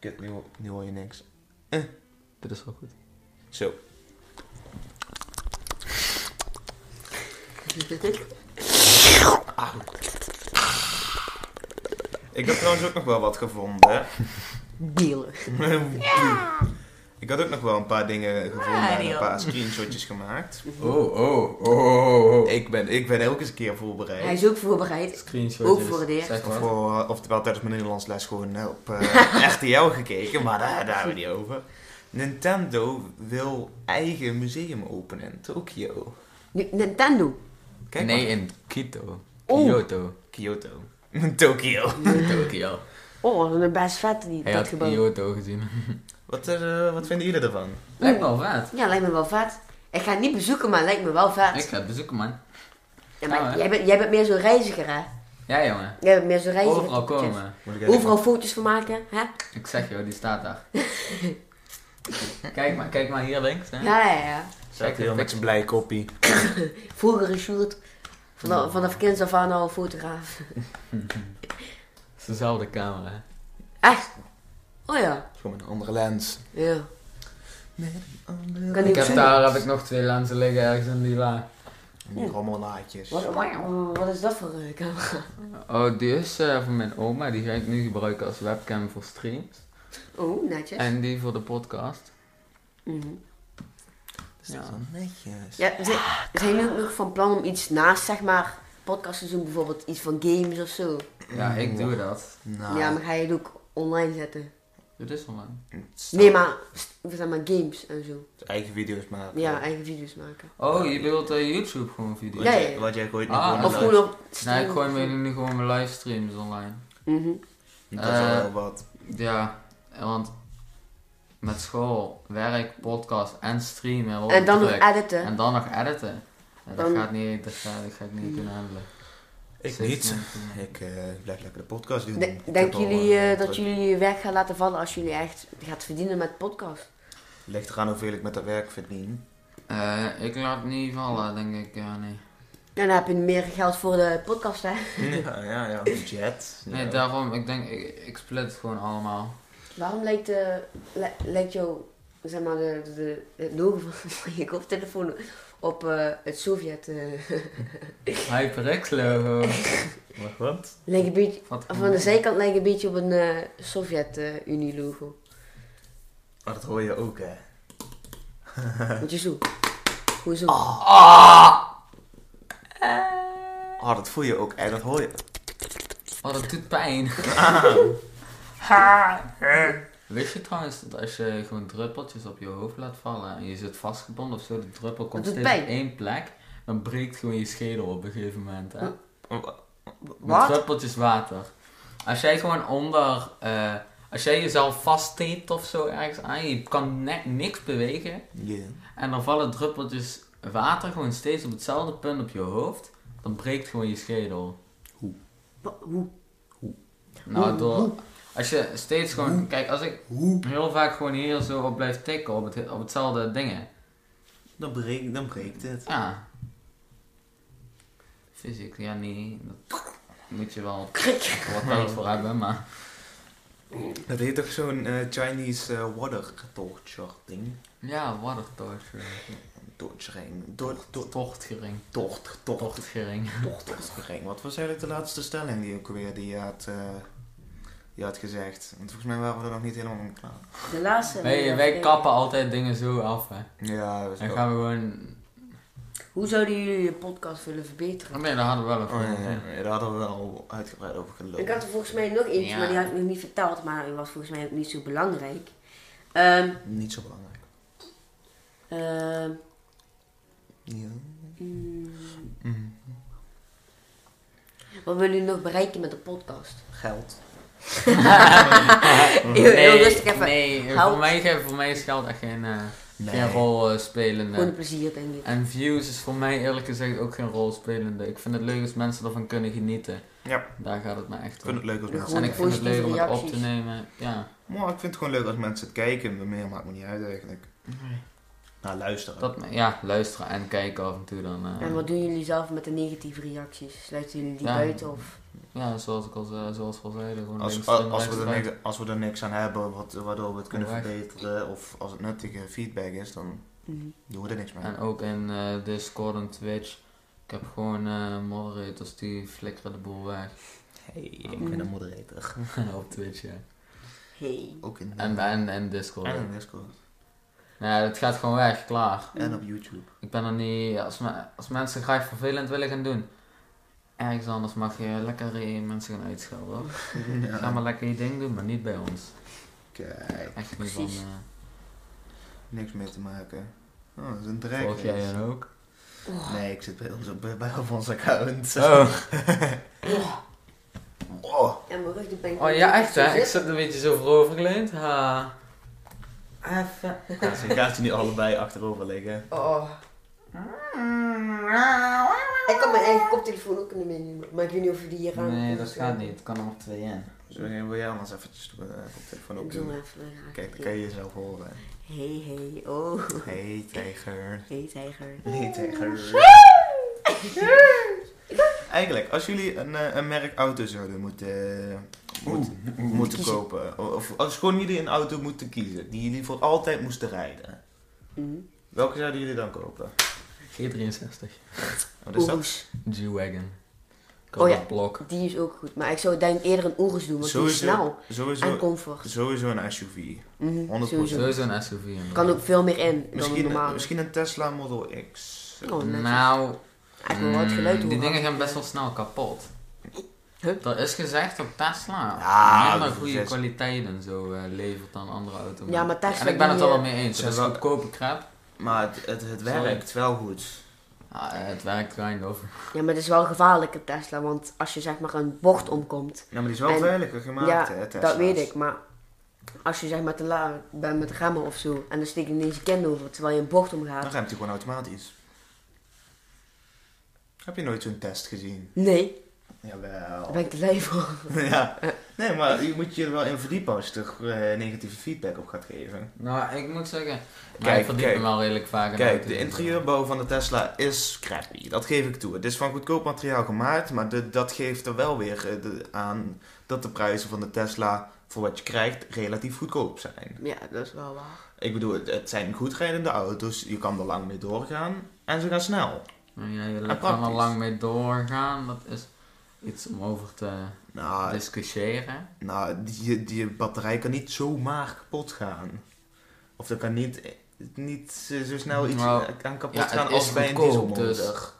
Speaker 1: Kut, nu, hoor- nu hoor je niks.
Speaker 4: Dit is wel goed.
Speaker 1: Zo. Ik had trouwens ook nog wel wat gevonden.
Speaker 3: Delen.
Speaker 1: Ik had ook nog wel een paar dingen gevonden en een paar screenshotjes gemaakt.
Speaker 4: Oh, oh, oh, oh, oh.
Speaker 1: Ik ben, ik ben elke keer
Speaker 3: Hij
Speaker 1: voorbereid.
Speaker 3: is ook voorbereid.
Speaker 4: Screenshot.
Speaker 3: Ook voor het eerst.
Speaker 4: Zeg
Speaker 1: Of,
Speaker 4: maar.
Speaker 1: voor- oftewel tijdens mijn Nederlands les gewoon eh, op eh, RTL gekeken, maar daar, daar hebben we niet over. Nintendo wil eigen museum openen in Tokio.
Speaker 3: Nu- Nintendo.
Speaker 1: Kijk
Speaker 4: nee,
Speaker 1: maar.
Speaker 4: in Quito.
Speaker 3: Oh.
Speaker 4: Kyoto.
Speaker 1: Kyoto. Tokio.
Speaker 4: Tokio.
Speaker 3: Oh, dat is best vet die,
Speaker 4: Hij
Speaker 3: dat
Speaker 4: had
Speaker 3: gebouw.
Speaker 4: Kyoto gezien.
Speaker 1: Wat, eh, wat vinden jullie ervan?
Speaker 4: Lijkt me wel vet.
Speaker 3: Ja, lijkt me wel vet. Ik ga het niet bezoeken, maar het lijkt me wel vet.
Speaker 4: Ik ga het bezoeken, man.
Speaker 3: Ja, maar
Speaker 4: Nou, hè.
Speaker 3: jij, bent, jij bent meer zo'n reiziger, hè?
Speaker 4: Ja, jongen.
Speaker 3: Jij bent meer zo'n reiziger.
Speaker 4: Overal
Speaker 3: typetje.
Speaker 4: komen.
Speaker 1: Moet ik even-
Speaker 3: Overal foto's van maken, hè?
Speaker 4: Ik zeg jou, die staat daar. kijk, maar, kijk maar hier links. Hè.
Speaker 3: Ja, ja, ja.
Speaker 1: Staat hier met zijn blij koppie.
Speaker 3: Vroeger een shoot. Vanaf, vanaf kind af aan al een fotograaf.
Speaker 4: Het is dezelfde camera. hè.
Speaker 3: Echt? Oh ja.
Speaker 1: Gewoon met een andere lens.
Speaker 3: Ja.
Speaker 1: Kan
Speaker 3: Kan
Speaker 4: Ik
Speaker 3: die-
Speaker 4: heb
Speaker 3: Precies.
Speaker 4: daar heb ik nog twee lenzen liggen ergens in die la.
Speaker 1: Die rommelaadjes.
Speaker 3: Wat, wat is dat voor eh, camera?
Speaker 4: Oh, die is eh, van mijn oma. Die ga ik nu gebruiken als webcam voor streams.
Speaker 3: Oh, netjes.
Speaker 4: En die voor de podcast.
Speaker 3: Mhm.
Speaker 1: Is dat
Speaker 4: Ja.
Speaker 1: wel netjes?
Speaker 3: Ja, zijn,
Speaker 4: Ah,
Speaker 3: zijn jullie ook nog van plan om iets naast, zeg maar, podcast te doen? Bijvoorbeeld iets van games of zo? Mm,
Speaker 4: Ja, ik doe dat.
Speaker 1: Mm. Nou,
Speaker 3: Ja, maar ga je het ook online zetten?
Speaker 4: Dit is van mij.
Speaker 1: het staat-
Speaker 3: Nee, maar, st- we zijn maar games en zo.
Speaker 1: Eigen video's maken.
Speaker 3: Ja, eigen video's maken.
Speaker 4: Oh, je wilt eh, YouTube gewoon video's?
Speaker 1: Wat,
Speaker 3: Ja, ja,
Speaker 1: jij,
Speaker 3: ja.
Speaker 1: wat jij gooit nu
Speaker 4: Ah,
Speaker 1: gewoon
Speaker 3: Of
Speaker 1: live.
Speaker 3: gewoon op
Speaker 4: Nee, ik gooi
Speaker 3: stream.
Speaker 4: me nu gewoon mijn livestreams online.
Speaker 3: Mhm.
Speaker 1: Dat is wel
Speaker 4: Eh,
Speaker 1: heel wat.
Speaker 4: Ja, want met school, werk, podcast en streamen. wordt
Speaker 3: En dan nog
Speaker 4: druk.
Speaker 3: editen.
Speaker 4: En dan nog editen. Ja, dat,
Speaker 3: Dan-
Speaker 4: gaat niet, dat, ga, dat ga ik niet kunnen handelen.
Speaker 1: Ik
Speaker 4: Zeker
Speaker 1: niet.
Speaker 4: kunnen.
Speaker 1: Ik eh, blijf lekker de podcast doen.
Speaker 3: De-
Speaker 1: Ik heb
Speaker 3: denken
Speaker 1: al,
Speaker 3: jullie
Speaker 1: eh,
Speaker 3: eh, dat
Speaker 1: druk.
Speaker 3: jullie je werk gaan laten vallen als jullie echt gaat verdienen met podcast?
Speaker 1: Ligt eraan hoeveel ik met dat werk verdien.
Speaker 4: Eh, ik laat niet vallen, denk ik. Ja, nee.
Speaker 3: En dan heb je meer geld voor de podcast, hè?
Speaker 1: Ja, ja, ja. Budget.
Speaker 4: Nee,
Speaker 1: Ja.
Speaker 4: daarom, ik denk, ik, ik split het gewoon allemaal.
Speaker 3: Waarom lijkt, de, li- lijkt jou, zeg maar, de, de, de- het logo van, van je koptelefoon op eh, het Sovjet? eh
Speaker 4: HyperX logo.
Speaker 1: Maar wat?
Speaker 3: lijkt een beetje,
Speaker 4: Wat
Speaker 3: of aan de zijkant lijkt een beetje op een eh, Sovjet-Unie-logo.
Speaker 1: Maar Oh, dat hoor je ook, hè?
Speaker 3: Moet je zo. Goed zo.
Speaker 4: Ah.
Speaker 1: Oh, dat voel je ook, hè? Dat hoor je.
Speaker 4: Oh, dat doet pijn. Wist je trouwens dat als je gewoon druppeltjes op je hoofd laat vallen en je zit vastgebonden of zo, de druppel komt
Speaker 3: doet
Speaker 4: steeds
Speaker 3: pijn.
Speaker 4: op één plek, dan breekt gewoon je schedel op een gegeven moment. Hè? Met
Speaker 3: Wat?
Speaker 4: druppeltjes water. Als jij gewoon onder, eh, als jij jezelf vastteept of zo ergens aan, je kan net niks bewegen
Speaker 1: Yeah.
Speaker 4: en dan vallen druppeltjes water gewoon steeds op hetzelfde punt op je hoofd, dan breekt gewoon je schedel.
Speaker 3: Wa- Hoe?
Speaker 4: Nou, door, als je steeds gewoon, kijk, als ik heel vaak gewoon hier zo op blijf tikken op, het, op hetzelfde dingen.
Speaker 1: Dan, breekt, dan breekt het.
Speaker 4: Ja. Fysiek, ja, nee. Dat moet je wel
Speaker 3: Krik.
Speaker 4: wat tijd voor hebben, maar.
Speaker 1: Dat heet toch zo'n eh, Chinese eh, water torture ding?
Speaker 4: Ja, water torture.
Speaker 1: Torturing. Tor- tor-
Speaker 4: Tochtgering.
Speaker 1: Tocht, tocht,
Speaker 4: Tochtgering.
Speaker 1: tocht, tochtgering. Wat was eigenlijk de laatste stelling die ook weer die je had, eh, die had gezegd? Want volgens mij waren we er nog niet helemaal mee klaar.
Speaker 3: De laatste.
Speaker 4: Wij, wij kappen altijd dingen zo af, hè.
Speaker 1: Ja, dat is
Speaker 4: En
Speaker 1: wel-
Speaker 4: gaan we gewoon...
Speaker 3: Hoe zouden jullie je podcast willen verbeteren?
Speaker 4: Oh nee, daar hadden we wel een
Speaker 1: Oh, ja,
Speaker 4: volgende.
Speaker 1: ja, ja, daar hadden we al uitgebreid over gelopen.
Speaker 3: Ik had er volgens mij nog eentje,
Speaker 4: Ja.
Speaker 3: maar die had ik nog niet verteld, maar die was volgens mij ook niet zo belangrijk. Ehm,
Speaker 1: Niet zo belangrijk.
Speaker 3: ehm,
Speaker 1: Ja.
Speaker 3: mm.
Speaker 1: Mhm.
Speaker 3: Wat willen jullie nog bereiken met de podcast?
Speaker 1: Geld.
Speaker 3: Heel, heel rustig even.
Speaker 4: nee
Speaker 3: Houd-
Speaker 4: voor, mij, ge- voor mij is geld echt geen, eh, geen rol eh, spelende.
Speaker 3: Gewoon plezier, denk ik.
Speaker 4: En views is voor mij eerlijk gezegd ook geen rol spelende. Ik vind het leuk als mensen ervan kunnen genieten.
Speaker 1: Ja.
Speaker 4: Daar gaat het me echt
Speaker 1: Ik vind
Speaker 4: om.
Speaker 1: het leuk als
Speaker 3: Ja,
Speaker 1: mensen...
Speaker 4: En ik vind het leuk om het op
Speaker 3: Positieve
Speaker 4: te nemen. Ja,
Speaker 1: Maar ik vind het gewoon leuk als mensen het kijken. Meer maakt me niet uit eigenlijk. Nou, luisteren.
Speaker 4: dat, ja luisteren en kijken af en toe dan. eh.
Speaker 3: En wat doen jullie zelf met de negatieve reacties? Sluiten jullie die
Speaker 4: Ja.
Speaker 3: buiten of?
Speaker 4: Ja, zoals ik al, zei- zoals we al zeiden. Gewoon
Speaker 1: Als,
Speaker 4: links
Speaker 1: als,
Speaker 4: erin,
Speaker 1: als
Speaker 4: rechts
Speaker 1: we er
Speaker 4: eruit.
Speaker 1: niks, als we er niks aan hebben wat, waardoor we het kunnen
Speaker 4: Weg.
Speaker 1: verbeteren, of als het nuttige feedback is, dan
Speaker 3: Mhm.
Speaker 1: doen we er niks mee.
Speaker 4: En ook in eh, Discord en Twitch. Ik heb gewoon eh, moderators die flikkeren de boel weg.
Speaker 1: Hey, ik
Speaker 4: Oh.
Speaker 3: ben een
Speaker 1: moderator.
Speaker 4: Op Twitch, ja.
Speaker 3: Hey.
Speaker 1: Ook in
Speaker 4: En, en, en Discord.
Speaker 1: en
Speaker 4: Nou,
Speaker 1: in Discord.
Speaker 4: het gaat gewoon weg, klaar.
Speaker 1: En op YouTube.
Speaker 4: Ik ben er niet... Als, me- als mensen graag vervelend willen gaan doen... Ergens anders mag je lekker eh, mensen gaan uitschelden. hoor. Ga maar lekker je ding doen, maar niet bij ons.
Speaker 1: Kijk,
Speaker 4: Echt niet van...
Speaker 3: Precies.
Speaker 4: eh,
Speaker 1: niks mee te maken. Oh, dat is een dreig.
Speaker 4: volg jij hen ook?
Speaker 1: Nee, ik zit bij ons op, bij op ons account.
Speaker 4: Oh.
Speaker 1: Oh,
Speaker 3: Ja, mijn rug doet pijn.
Speaker 4: oh ja, echt hè? Ik zit een beetje zo voorovergeleund. Ha. Even...
Speaker 1: Gaat ze- gaat ze nu allebei achterover liggen?
Speaker 3: Oh. Ik kan mijn eigen koptelefoon ook niet meer nemen, maar ik weet niet of je die hier aan
Speaker 4: Nee, dat gaat niet. Ik kan er nog twee in.
Speaker 1: Zo, wil jij anders eventjes de eh, koptelefoon
Speaker 3: Ik doe maar
Speaker 1: opdoen?
Speaker 3: even. ja.
Speaker 1: Kijk, dan kan je jezelf horen.
Speaker 3: Hey, hey, oh.
Speaker 1: Hey, tijger.
Speaker 3: Hey, tijger.
Speaker 1: Nee, tijger. Eigenlijk, als jullie een, eh, een merk auto zouden moeten, moeten, moeten
Speaker 3: Kiezen.
Speaker 1: kopen, o- of als gewoon jullie een auto moeten kiezen die jullie voor altijd moesten rijden,
Speaker 3: Mm.
Speaker 1: welke zouden jullie dan kopen?
Speaker 4: G63.
Speaker 1: Wat is dat?
Speaker 3: Oeroes.
Speaker 4: G-Wagon.
Speaker 3: Oh ja.
Speaker 4: Blok.
Speaker 3: Die is ook goed, maar ik zou denk eerder een Oeroes doen, want die is
Speaker 1: Sowieso.
Speaker 3: snel en
Speaker 1: Sowieso,
Speaker 3: comfort.
Speaker 1: sowieso een SUV.
Speaker 3: Mhm,
Speaker 1: 100%.
Speaker 3: Sowieso.
Speaker 4: Sowieso een SUV. inderdaad.
Speaker 3: Kan ook veel meer in dan een
Speaker 1: Misschien,
Speaker 3: normale.
Speaker 1: misschien een Tesla Model X.
Speaker 3: Oh, netjes.
Speaker 4: Nou,
Speaker 3: Ik wil wel het
Speaker 4: mm,
Speaker 3: geluid horen.
Speaker 4: die dingen gaan best wel snel kapot.
Speaker 3: Huh?
Speaker 4: Er is gezegd dat Tesla
Speaker 1: Ja,
Speaker 4: minder
Speaker 1: dat
Speaker 4: goede
Speaker 1: is-
Speaker 4: kwaliteiten zo eh, levert dan andere auto's.
Speaker 3: Ja, maar Tesla
Speaker 4: En ik ben het
Speaker 3: die,
Speaker 4: er wel
Speaker 3: eh,
Speaker 4: mee eens.
Speaker 1: ze
Speaker 4: Het is
Speaker 1: hebben-
Speaker 4: goedkope crap.
Speaker 1: Maar het, het, het
Speaker 4: Sorry.
Speaker 1: werkt wel goed.
Speaker 4: Ah, eh, het werkt kind of.
Speaker 3: Ja, maar het is wel gevaarlijk een Tesla, want als je zeg maar een bocht omkomt,
Speaker 1: Ja, maar die is wel
Speaker 3: En-
Speaker 1: veiliger gemaakt,
Speaker 3: ja,
Speaker 1: hè, Tesla's.
Speaker 3: dat weet ik, maar als je zeg maar te laat bent met remmen of zo en dan steek je ineens je kind over terwijl je een bocht
Speaker 1: Dan
Speaker 3: omgaat.
Speaker 1: remt hij gewoon automatisch. Heb je nooit zo'n test gezien?
Speaker 3: Nee,
Speaker 1: Jawel.
Speaker 3: daar ben ik te lui voor.
Speaker 1: ja, Nee, maar je moet je er wel in verdiepen als je er eh, negatieve feedback op gaat geven.
Speaker 4: Nou, ik moet zeggen,
Speaker 1: Kijk,
Speaker 4: kijk, ik verdiep
Speaker 1: kijk.
Speaker 4: me wel redelijk vaak. in
Speaker 1: Kijk,
Speaker 4: auto's. eh.
Speaker 1: de interieurbouw van de Tesla is crappy. Dat geef ik toe. Het is van goedkoop materiaal gemaakt, maar de- dat geeft er wel weer eh, de- aan dat de prijzen van de Tesla voor wat je krijgt relatief goedkoop zijn.
Speaker 3: Ja, dat is wel waar.
Speaker 1: Ik bedoel, het, het zijn goedrijdende auto's, je kan er lang mee doorgaan en ze gaan snel.
Speaker 4: Nou Ja, je
Speaker 1: En
Speaker 4: kan er
Speaker 1: praktisch.
Speaker 4: lang mee doorgaan. Dat is iets om over te
Speaker 1: Nou,
Speaker 4: discussiëren.
Speaker 1: nou die, die batterij kan niet zomaar kapot gaan. Of er kan niet, niet eh, zo snel iets
Speaker 4: Nou,
Speaker 1: aan kapot
Speaker 4: ja, het
Speaker 1: gaan
Speaker 4: is
Speaker 1: als bij een
Speaker 4: goedkoop,
Speaker 1: dieselmotor.
Speaker 4: dus-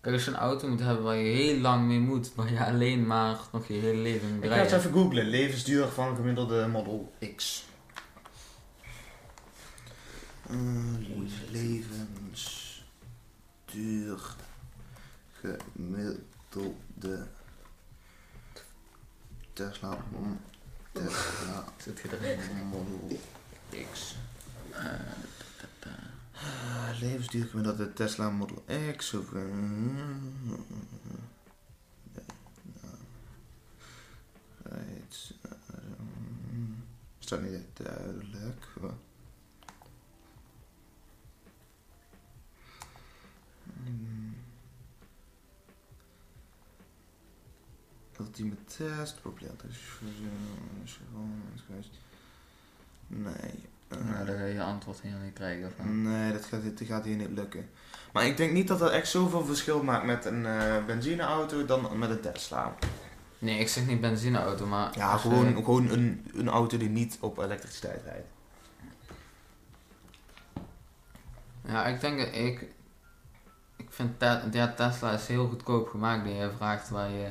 Speaker 4: Kijk, als je een auto moet hebben waar je heel lang mee moet, waar je alleen maar nog je hele leven
Speaker 1: Ik
Speaker 4: mee
Speaker 1: ga het
Speaker 4: rijdt.
Speaker 1: even googlen. Levensduur van een gemiddelde Model X. Eh, levensduur gemiddelde Tesla, Tesla
Speaker 4: Zit je erin? Eh,
Speaker 1: Model X. Ah, Levensduur gemiddelde Tesla Model X. Of, eh, Right. ehm, Staat niet echt duidelijk. Wa- Hmm. Ultieme test, probeer dat is gewoon. Nee. eh,
Speaker 4: Nou, daar ga je je antwoord helemaal niet
Speaker 1: Mm.
Speaker 4: krijgen van.
Speaker 1: Nee, dat gaat, dat gaat hier niet lukken. Maar ik denk niet dat dat echt zoveel verschil maakt met een eh, benzineauto dan met een Tesla.
Speaker 4: Nee, ik zeg niet benzineauto, maar...
Speaker 1: Ja,
Speaker 4: als je-
Speaker 1: gewoon, gewoon een, een auto die niet op elektriciteit rijdt.
Speaker 4: Ja, ik denk dat ik... Ik vind Te- ja, Tesla is heel goedkoop gemaakt. Die je vraagt waar je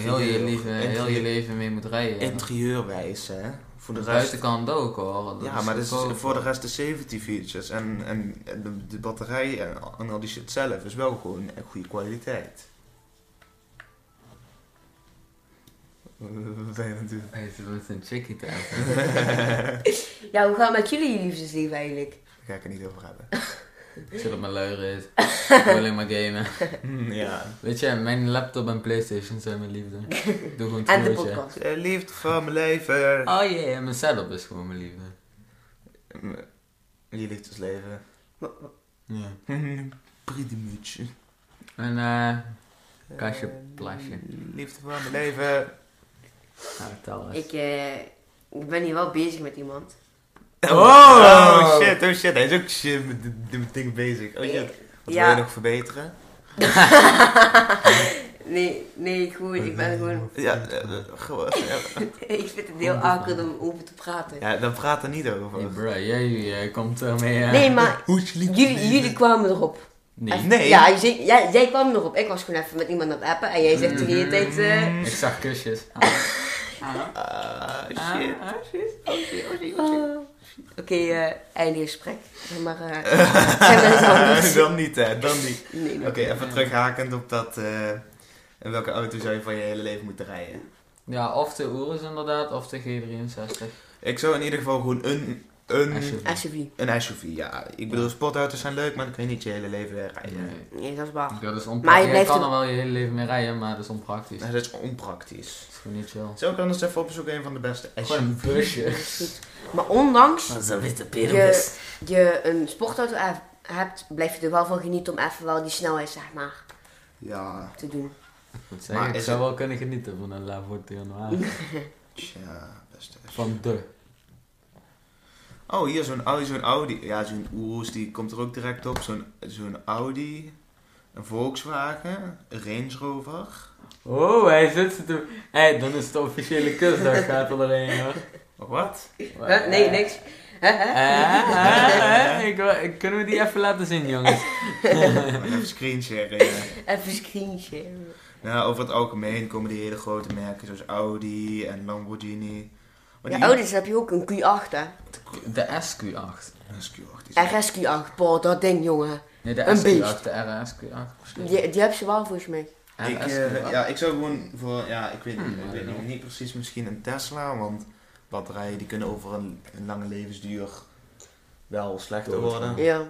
Speaker 4: heel je, leven, heel je leven mee moet rijden.
Speaker 1: Interieurwijs, hè. Voor de
Speaker 4: de
Speaker 1: rest...
Speaker 4: buitenkant ook hoor. Dat
Speaker 1: Ja, maar dat
Speaker 4: goedkoop.
Speaker 1: is voor de rest de safety features en, en, en de, de batterij en, al- en al die shit zelf is wel gewoon een goede kwaliteit. We zijn natuurlijk...
Speaker 4: Hij zit met een chickie te eten.
Speaker 3: Ja, hoe gaat het met jullie liefdesleven eigenlijk?
Speaker 1: Daar ga ik het niet over hebben.
Speaker 4: Ik zit op mijn lui reet. Ik wil alleen maar gamen.
Speaker 1: ja.
Speaker 4: Weet je, mijn laptop en playstation zijn mijn liefde. Ik Doe gewoon
Speaker 3: En de
Speaker 4: het goedje.
Speaker 3: podcast.
Speaker 1: De Eh, liefde van mijn leven.
Speaker 4: Oh jee, mijn setup is gewoon mijn liefde.
Speaker 1: Je liefdesleven.
Speaker 4: Ja.
Speaker 1: Pretty much.
Speaker 4: En eh, Kastje, plasje.
Speaker 1: Ehm, Liefde van mijn leven.
Speaker 4: nou, vertel eens.
Speaker 3: Ik, eh, ik ben hier wel bezig met iemand.
Speaker 1: Oh, shit, oh shit. Hij is ook shit met dit- dit ding bezig. Oh shit. Wat wil
Speaker 3: Ja.
Speaker 1: je nog verbeteren?
Speaker 3: Nee, nee, gewoon, ik ben gewoon...
Speaker 1: Ja, eh, eh, gewoon. ja.
Speaker 3: ik vind het heel akelig om over te praten.
Speaker 1: Ja, dan praat er niet over.
Speaker 4: Hey bro, jij eh, komt ermee. eh,
Speaker 3: Nee, maar
Speaker 1: Hoe is je
Speaker 3: jullie, jullie kwamen erop.
Speaker 4: Nee.
Speaker 1: Nee.
Speaker 3: Ja, jij, jij, jij kwam erop. Ik was gewoon even met iemand aan het appen en jij zegt de hele tijd... eh,
Speaker 4: Ik zag kusjes. Ah. Ah.
Speaker 1: Ah,
Speaker 4: Ah,
Speaker 1: shit.
Speaker 4: ah, shit.
Speaker 3: Ah. Oké, eh einde gesprek. Maar eh zijn we zo niet.
Speaker 1: dan niet, hè. Dan niet.
Speaker 3: Nee,
Speaker 1: Oké,
Speaker 3: nee.
Speaker 1: even terughakend op dat... eh, in welke auto zou je van je hele leven moeten rijden?
Speaker 4: Ja, of de Urus inderdaad, of de G63.
Speaker 1: Ik zou in ieder geval gewoon een, een,
Speaker 4: Alsjeblieft.
Speaker 3: SUV.
Speaker 1: een SUV, ja. Ik bedoel, sportauto's zijn leuk, maar dan kun je niet je hele leven weer rijden.
Speaker 4: Nee.
Speaker 3: Nee, dat is waar.
Speaker 4: Ah. Dat is
Speaker 3: Maar je
Speaker 4: onpraktisch. Je
Speaker 3: blijft
Speaker 4: kan
Speaker 3: een-
Speaker 4: er wel je hele leven mee rijden, maar dat is onpraktisch.
Speaker 1: Nou, dat is onpraktisch.
Speaker 4: Dat is gewoon niet chill.
Speaker 1: Zou ik anders even opzoeken een van de beste
Speaker 4: Gewoon een busje.
Speaker 3: Maar ondanks
Speaker 1: Zo'n witte
Speaker 3: je, je een sportauto hef- hebt, blijf je er wel van genieten om even wel die snelheid zeg maar,
Speaker 1: Ja,
Speaker 3: te doen.
Speaker 4: Ik,
Speaker 1: Maar
Speaker 4: zeg, ik
Speaker 1: is
Speaker 4: zou
Speaker 1: het-
Speaker 4: wel kunnen genieten van een Lavort Januar.
Speaker 1: tja, beste SUV.
Speaker 4: Van de.
Speaker 1: Oh, hier zo'n Audi, zo'n Audi. Ja, zo'n Urus, die komt er ook direct op. Zo'n zo'n Audi, een Volkswagen, een Range Rover.
Speaker 4: Oh, hij zit ze te. Hé, dan is de officiële kus, daar gaat er een hoor.
Speaker 1: Wat?
Speaker 3: Huh? Nee, niks. Hè, hè?
Speaker 4: Eh, eh, eh, ik wil- ik- kunnen we die even laten zien, jongens?
Speaker 1: Oh, Even screenshare. ja.
Speaker 3: Even screenshare.
Speaker 1: Nou, over het algemeen komen die hele grote merken zoals Audi en Lamborghini. Maar
Speaker 3: Ja,
Speaker 1: die-
Speaker 3: ouders heb je ook een Q8 hè.
Speaker 4: De SQ8.
Speaker 1: Dat is Q8, die is-
Speaker 3: RS Q8, boah, dat ding jongen.
Speaker 4: Nee, de
Speaker 3: Een
Speaker 4: SQ8, de RSQ8 misschien.
Speaker 3: Die, die heb je wel volgens mij.
Speaker 1: Ik, eh,
Speaker 4: RSQ8.
Speaker 1: ja, ik zou gewoon voor, ja, ik weet,
Speaker 4: Hmm.
Speaker 1: ik weet nog niet precies, misschien een Tesla, want batterijen die kunnen over een, een lange levensduur wel slechter
Speaker 4: Dood.
Speaker 1: worden.
Speaker 3: Ja.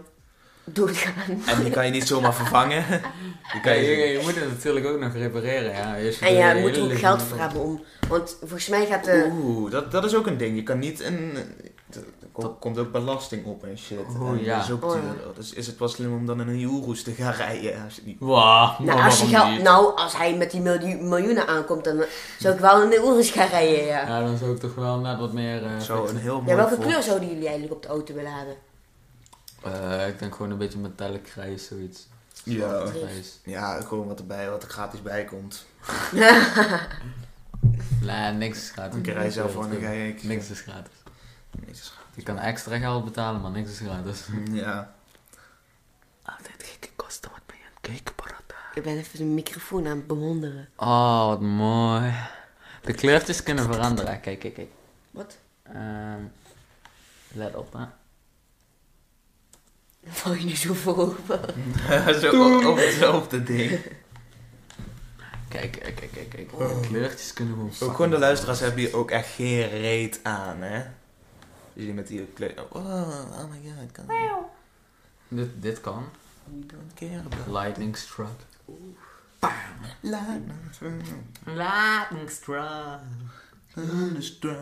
Speaker 3: doodgaan.
Speaker 1: En die kan je niet zomaar vervangen. Die
Speaker 4: Ja,
Speaker 1: kan
Speaker 4: je,
Speaker 1: je...
Speaker 4: je moet het natuurlijk ook nog repareren, ja. Als je
Speaker 3: En
Speaker 4: de
Speaker 3: ja,
Speaker 4: hele
Speaker 3: je moet er ook
Speaker 4: lichaam-
Speaker 3: geld voor hebben om. Want volgens mij gaat de.
Speaker 1: Oeh, dat, dat is ook een ding. Je kan niet een... Dat kom- komt ook belasting op en shit.
Speaker 4: Oeh,
Speaker 1: en
Speaker 4: ja.
Speaker 1: Dat is ook
Speaker 3: Oh, ja.
Speaker 1: duur. Dus is het wel slim om dan in een Urus te gaan rijden. Als je die...
Speaker 4: Wauw,
Speaker 3: Nou,
Speaker 4: maar
Speaker 3: als, je
Speaker 4: waarom
Speaker 3: geld,
Speaker 4: niet?
Speaker 3: nou, als hij met die miljoen- miljoenen aankomt, dan zou ik wel in de Urus gaan rijden, ja.
Speaker 4: Ja, dan zou ik toch wel net wat meer... eh,
Speaker 1: Zo een
Speaker 4: fixen.
Speaker 1: heel mooi...
Speaker 3: Ja, welke
Speaker 1: vol-
Speaker 3: kleur zouden jullie eigenlijk op de auto willen hebben?
Speaker 4: Eh, ik denk gewoon een beetje metallic grijs, zoiets.
Speaker 1: Ja.
Speaker 4: Grijs.
Speaker 1: ja, gewoon wat erbij, wat er gratis bij komt.
Speaker 4: Nee, niks is gratis.
Speaker 1: Een keer rij zelf gewoon, dan ga je...
Speaker 4: Niks is gratis.
Speaker 1: Niks is gratis.
Speaker 4: Je kan extra geld betalen, maar niks is gratis.
Speaker 1: Ja.
Speaker 4: Altijd gekke kosten, wat ben je aan het kijken,
Speaker 3: Ik ben even de microfoon aan het bewonderen.
Speaker 4: Oh, wat mooi. De kleurtjes kunnen veranderen. Kijk, kijk, kijk.
Speaker 3: Wat?
Speaker 4: Ehm, let op, hè.
Speaker 3: Val je nu zo voorover?
Speaker 1: zo op- op hetzelfde ding.
Speaker 4: Kijk, kijk, kijk, kijk. kijk. De kleurtjes kunnen gewoon
Speaker 1: Oh. Ook gewoon de
Speaker 4: fucking
Speaker 1: luisteraars hebben hier ook echt geen reet aan, hè? Dus jullie met die kleur... Oh, oh my god, kan
Speaker 4: Dit, dit kan.
Speaker 1: We don't care about
Speaker 4: Lightning struck.
Speaker 1: lightning from
Speaker 4: Lightning struck. Oh,
Speaker 1: thunderstruck.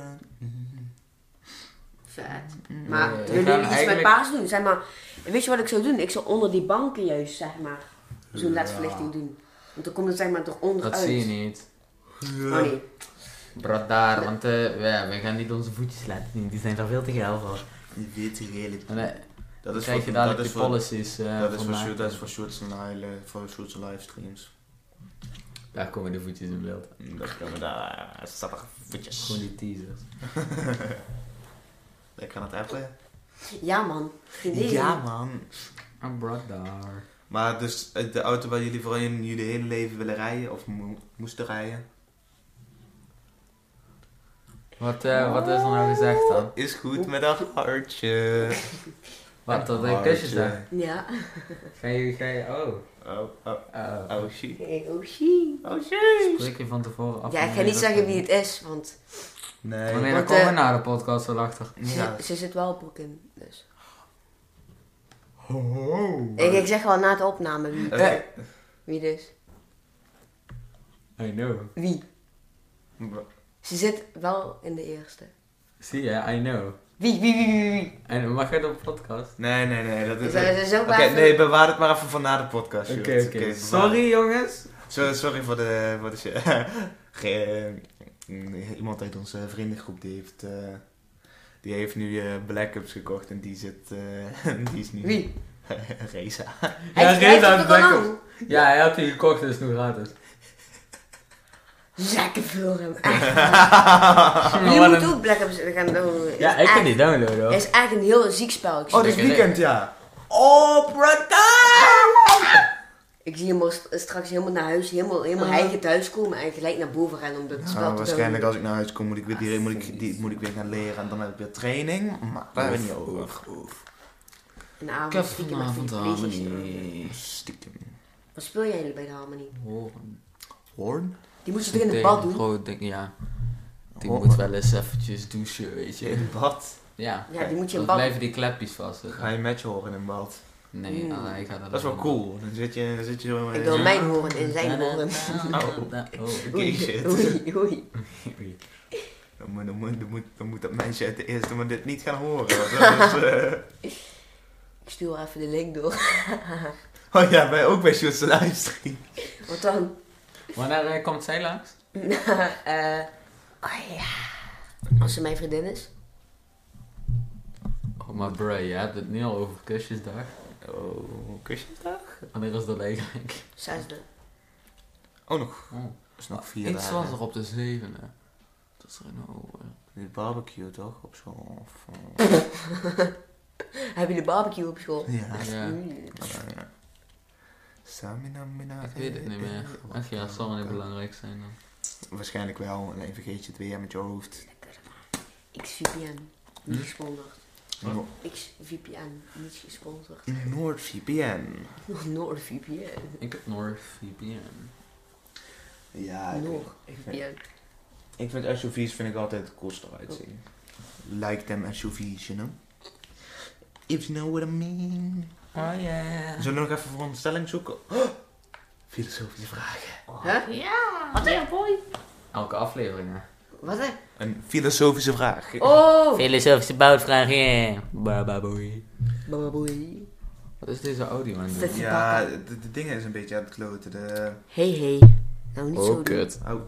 Speaker 3: Vet.
Speaker 1: Mm.
Speaker 3: Maar
Speaker 4: Nee, ik
Speaker 3: jullie
Speaker 4: kan
Speaker 3: iets
Speaker 4: eigenlijk-
Speaker 3: met paars doen, zeg maar. En weet je wat ik zou doen? Ik zou onder die banken juist, zeg maar, zo'n
Speaker 1: Ja.
Speaker 3: ledverlichting doen. Want dan komt het zeg maar toch onderuit.
Speaker 4: Dat zie je niet.
Speaker 3: Oh nee.
Speaker 4: Brad daar, want eh, ja, we gaan niet onze voetjes laten zien. Die zijn daar veel te geil voor.
Speaker 1: Die witte hele...
Speaker 4: En, eh,
Speaker 1: dat
Speaker 4: dan
Speaker 1: is
Speaker 4: krijg
Speaker 1: voor,
Speaker 4: je
Speaker 1: dat
Speaker 4: dadelijk
Speaker 1: is
Speaker 4: die
Speaker 1: voor,
Speaker 4: policies eh,
Speaker 1: dat is voor,
Speaker 4: maken.
Speaker 1: shoot- dat is voor shorts en live- eh, voor shorts en livestreams.
Speaker 4: Daar komen de voetjes in beeld.
Speaker 1: Mm, Dat kunnen we daar... Het staat er voetjes.
Speaker 4: Gewoon die teasers.
Speaker 1: Ik ga het appen.
Speaker 3: Ja man. Vriendin.
Speaker 1: Ja, man.
Speaker 4: Een Brad daar.
Speaker 1: Maar dus eh, de auto waar jullie voor in jullie hele leven willen rijden, of mo- moesten rijden,
Speaker 4: Wat, eh, wat is er nou gezegd dan?
Speaker 1: is goed met dat hartje.
Speaker 4: Wat, dat ik
Speaker 1: Hartje.
Speaker 4: kusjes zeg?
Speaker 3: Ja.
Speaker 4: Ga je, ga je, oh.
Speaker 1: Oh, oh,
Speaker 4: oh.
Speaker 1: oh, shit.
Speaker 3: Hey, oh, shit.
Speaker 1: Oh, shit.
Speaker 4: Spreek je van tevoren af.
Speaker 3: Ja, ik ga niet zeggen wie het is, want
Speaker 1: Nee.
Speaker 4: Wanneer
Speaker 3: Want,
Speaker 4: komen we
Speaker 3: eh,
Speaker 4: naar de podcast wel achter?
Speaker 1: Ja.
Speaker 3: ze, ze zit wel op broek in. Dus.
Speaker 1: Ho,
Speaker 4: Oh.
Speaker 1: ho.
Speaker 3: Ik, ik zeg wel na de opname wie,
Speaker 1: Eh,
Speaker 3: wie het is.
Speaker 4: I know.
Speaker 3: Wie? Ze zit wel in de eerste.
Speaker 4: Zie je, I know.
Speaker 3: Wie, wie, wie, wie, wie?
Speaker 4: En mag het op podcast?
Speaker 1: Nee, nee, nee. Dat is...
Speaker 3: Dus dat is ook
Speaker 1: Eh, Oké,
Speaker 3: waar-
Speaker 1: nee, bewaar het maar even voor na de podcast.
Speaker 4: Oké,
Speaker 1: Sjoerd.
Speaker 4: oké.
Speaker 1: bewaar-
Speaker 4: Sorry jongens.
Speaker 1: Zo- sorry voor de... Voor de shit. Ge- eh, Iemand uit onze vriendengroep die heeft... eh, die heeft nu eh Black Ups gekocht en die zit... eh, die is nu...
Speaker 3: Wie?
Speaker 1: Reza.
Speaker 3: Hij
Speaker 4: Ja,
Speaker 3: hij heeft
Speaker 4: Reza heeft
Speaker 3: het ook al
Speaker 4: Black
Speaker 3: lang.
Speaker 4: Ja, hij had die gekocht, dus nu gratis.
Speaker 1: Ah,
Speaker 3: Lekker veel hem. echt waar.
Speaker 1: ah,
Speaker 3: Jullie
Speaker 4: wat
Speaker 3: moeten
Speaker 4: Ah, een-
Speaker 3: ook Black Ops gaan doen.
Speaker 4: Ja, ik kan die downloaden
Speaker 3: Het
Speaker 4: hoor.
Speaker 3: is eigenlijk een heel ziek spel. Ik,
Speaker 1: Oh,
Speaker 3: zie-
Speaker 1: dit is weekend, ja.
Speaker 4: Oh, Brad!
Speaker 3: ik zie hem al st- straks helemaal naar huis, helemaal, helemaal eigen thuis komen en gelijk naar boven gaan om dat spel te
Speaker 1: Nou,
Speaker 3: doen.
Speaker 1: waarschijnlijk als ik naar huis kom moet ik, weer, die, moet, ik, die, moet ik weer gaan leren en dan heb ik weer training. Maar daar hebben we niet over.
Speaker 3: Een avond
Speaker 4: Ik heb
Speaker 3: stiekem even die
Speaker 4: vanavond
Speaker 3: PlayStation aan.
Speaker 4: Harmony.
Speaker 1: Eh, Stiekem.
Speaker 3: Wat speel jij nu bij de Harmony?
Speaker 1: Hoorn?
Speaker 3: Die moet je toch in de bad doen?
Speaker 4: Groot Oh, ding, ja. Die
Speaker 1: Oh.
Speaker 4: moet wel eens eventjes douchen, weet
Speaker 1: In
Speaker 4: je.
Speaker 1: een bad.
Speaker 4: Ja.
Speaker 3: Ja, die moet je
Speaker 4: Dan
Speaker 3: in bad doen.
Speaker 4: blijven die klepjes vast. hè.
Speaker 1: Ga je een match horen in een bad.
Speaker 4: Nee,
Speaker 3: Mm.
Speaker 4: ah, ik ga dat
Speaker 1: Dat is wel
Speaker 4: niet.
Speaker 1: cool. Dan zit je... Dan zit je
Speaker 3: Ik wil
Speaker 1: mij.
Speaker 3: mijn horen en zijn horen.
Speaker 4: Oh.
Speaker 1: Oei, shit.
Speaker 3: oei, oei.
Speaker 1: Dan moet, dan, moet, dan, moet, dan moet dat meisje uit de eerste maar dit niet gaan horen. want Dat is, eh,
Speaker 3: Ik stuur even de link door.
Speaker 1: Oh ja, wij ook bij Sjoerd's livestream.
Speaker 3: Wat dan?
Speaker 4: Wanneer eh, komt zij langs?
Speaker 3: Eh, oh ja. Als ze mijn vriendin is.
Speaker 4: Oh, maar bro, je hebt het nu al over kusjesdag.
Speaker 1: Oh, kusjesdag?
Speaker 4: Wanneer is dat eigenlijk?
Speaker 3: Zesde.
Speaker 1: Oh, nog.
Speaker 4: Oh.
Speaker 1: is nog vier
Speaker 4: Iets was
Speaker 1: dagen.
Speaker 4: er op de zevende. Dat is er nou... eh,
Speaker 1: Dit barbecue toch? Op zo'n... of, eh,
Speaker 3: Hebben jullie barbecue op school?
Speaker 1: Ja.
Speaker 4: Ja.
Speaker 3: Mm.
Speaker 1: Samina, mina,
Speaker 4: Ik weet het niet meer. Ach ja, het zal wel niet belangrijk zijn dan.
Speaker 1: Waarschijnlijk wel. En even vergeet je het weer met je hoofd.
Speaker 3: XVPN. Niet gesponsord.
Speaker 1: No-
Speaker 3: XVPN. Niet gesponsord.
Speaker 1: NoordVPN.
Speaker 3: NordVPN.
Speaker 4: Ik heb NordVPN.
Speaker 1: Ja, Ah, ik weet- ik vind,
Speaker 3: NordVPN.
Speaker 1: ik vind SUV's vind ik altijd koster uitzien. Like them SUV's, you know? If you know what I mean.
Speaker 4: Oh yeah.
Speaker 1: Zullen we nog even voor een stelling zoeken? filosofische vragen.
Speaker 4: Oh.
Speaker 3: Huh?
Speaker 5: Ja, wat ja, boy.
Speaker 2: Elke aflevering, hè.
Speaker 3: Wat hè?
Speaker 1: Een filosofische vraag.
Speaker 3: Oh!
Speaker 4: Filosofische bouwvraag, yeah. Baba boy.
Speaker 3: Bababoei.
Speaker 2: Wat is deze audio aan het
Speaker 3: Dit-
Speaker 2: doen?
Speaker 1: Ja, de, de dingen is een beetje aan het kloten. De...
Speaker 3: Hey hey. Nou niet zo.
Speaker 4: Oh,
Speaker 3: doen.
Speaker 4: kut.
Speaker 1: Oh,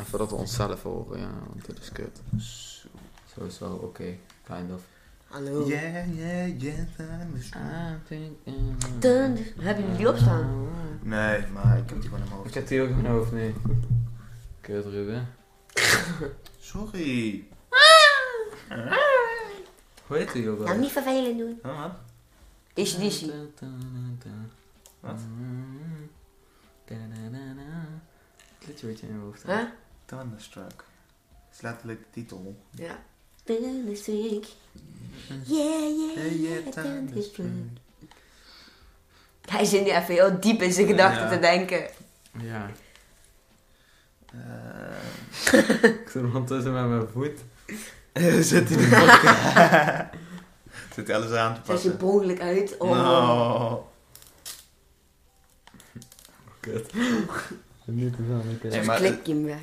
Speaker 4: Even dat we onszelf horen, ja, want dit is kut.
Speaker 1: zo.
Speaker 2: Sowieso, oké. Kind of.
Speaker 3: Hallo.
Speaker 1: Yeah, yeah, yeah, time is-
Speaker 3: Ah.
Speaker 4: Ah, eh.
Speaker 3: Dun, dun. Hebben jullie die opstaan?
Speaker 1: Nee, maar ik heb die gewoon in mijn hoofd.
Speaker 4: Ik heb die ook in mijn hoofd, nee. Kut, Ruben.
Speaker 1: Sorry.
Speaker 2: Hoe heet die ook
Speaker 3: Ah! Nou
Speaker 2: alweer?
Speaker 3: niet vervelend doen.
Speaker 1: Huh, wat?
Speaker 3: Is die
Speaker 1: Wat?
Speaker 4: Het liedje wat je in je hoofd hebt.
Speaker 3: Hè?
Speaker 1: Thunderstruck. Dat is letterlijk de titel.
Speaker 3: Ja. Thunderstruck. Yeah, yeah,
Speaker 1: Hey,
Speaker 3: yeah,
Speaker 1: yeah,
Speaker 3: thunderstruck.
Speaker 1: thunderstruck.
Speaker 3: Hij zit nu even heel diep in zijn gedachten
Speaker 1: Ja.
Speaker 3: te denken.
Speaker 4: Ja.
Speaker 1: Eh,
Speaker 4: Ik zit ondertussen met mijn voet.
Speaker 1: Zet hij de podcast. Zit alles aan te
Speaker 3: Zet je
Speaker 1: passen.
Speaker 3: behoorlijk uit. Oh.
Speaker 1: Nou. No. Nee, maar-
Speaker 3: Klik je hem weg.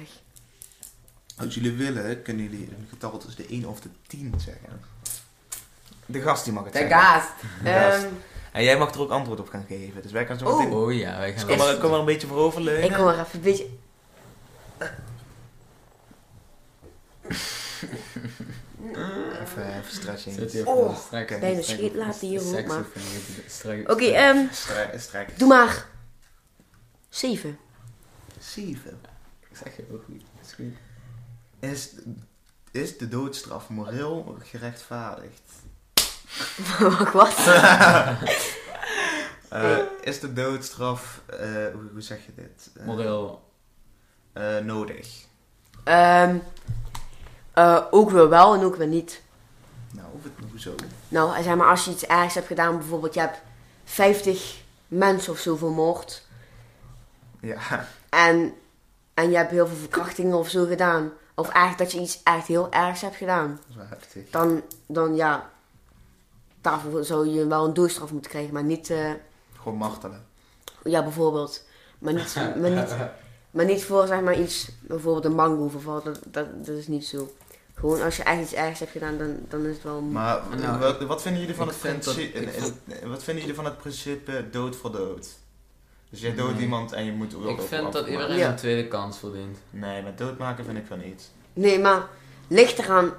Speaker 1: Als jullie willen, kunnen jullie een getal tussen de 1 of de 10 zeggen. De gast die mag het
Speaker 3: De
Speaker 1: zeggen.
Speaker 3: gaast.
Speaker 1: Gast.
Speaker 3: Ehm,
Speaker 1: En jij mag er ook antwoord op gaan geven. Dus wij gaan zo
Speaker 3: Oh.
Speaker 1: meteen...
Speaker 4: Oh ja, wij
Speaker 1: Dus
Speaker 4: gaan...
Speaker 1: kom maar, kom maar een beetje
Speaker 3: ik
Speaker 1: vooroverleunen.
Speaker 3: hoor even een beetje.
Speaker 1: Even, even
Speaker 4: Zit
Speaker 1: stretching.
Speaker 4: hier even
Speaker 3: Oh,
Speaker 4: een strek-
Speaker 1: bijna
Speaker 4: een strek-
Speaker 3: scheet laten hier
Speaker 4: een
Speaker 3: ook, maar-
Speaker 4: saxofoon, een strek-
Speaker 3: Oké, ehm,
Speaker 1: Stre- Strek.
Speaker 3: doe maar. 7.
Speaker 1: 7.
Speaker 4: Ik zeg je ook goed. Is goed.
Speaker 1: Is, is de doodstraf moreel gerechtvaardigd?
Speaker 3: Wacht, wat?
Speaker 1: Eh, is de doodstraf... eh, hoe, hoe zeg je dit? Eh,
Speaker 4: Moreel.
Speaker 1: eh, nodig.
Speaker 3: Ehm, eh, ook weer wel en ook weer niet.
Speaker 1: Nou, of het nog zo.
Speaker 3: Nou, zeg maar, als je iets ergs hebt gedaan, bijvoorbeeld je hebt 50 mensen of zo vermoord.
Speaker 1: Ja.
Speaker 3: En, en je hebt heel veel verkrachtingen of zo gedaan. Of eigenlijk dat je iets echt heel ergs hebt gedaan.
Speaker 1: Dat is wel heftig.
Speaker 3: Dan, dan ja, daarvoor zou je wel een doodstraf moeten krijgen. Maar niet, eh,
Speaker 1: Gewoon martelen.
Speaker 3: ja bijvoorbeeld, maar niet, maar niet, maar niet voor zeg maar iets, bijvoorbeeld een mangoverval. Dat, dat, dat is niet zo. Gewoon als je echt iets ergs hebt gedaan, dan, dan is het wel...
Speaker 1: Maar
Speaker 4: Nou,
Speaker 1: eh, wat, wat vinden jullie van
Speaker 4: ik
Speaker 1: het
Speaker 4: vind dat-
Speaker 1: principe?
Speaker 4: ik vind-
Speaker 1: eh, Wat vinden jullie van het principe dood voor dood? Dus jij doodt
Speaker 4: Nee.
Speaker 1: iemand en je moet ook
Speaker 4: Ik
Speaker 1: over
Speaker 4: vind dat
Speaker 1: afmaken.
Speaker 4: iedereen
Speaker 3: Ja.
Speaker 4: een tweede kans verdient.
Speaker 1: Nee, maar doodmaken vind ik wel niet.
Speaker 3: Nee, maar ligt eraan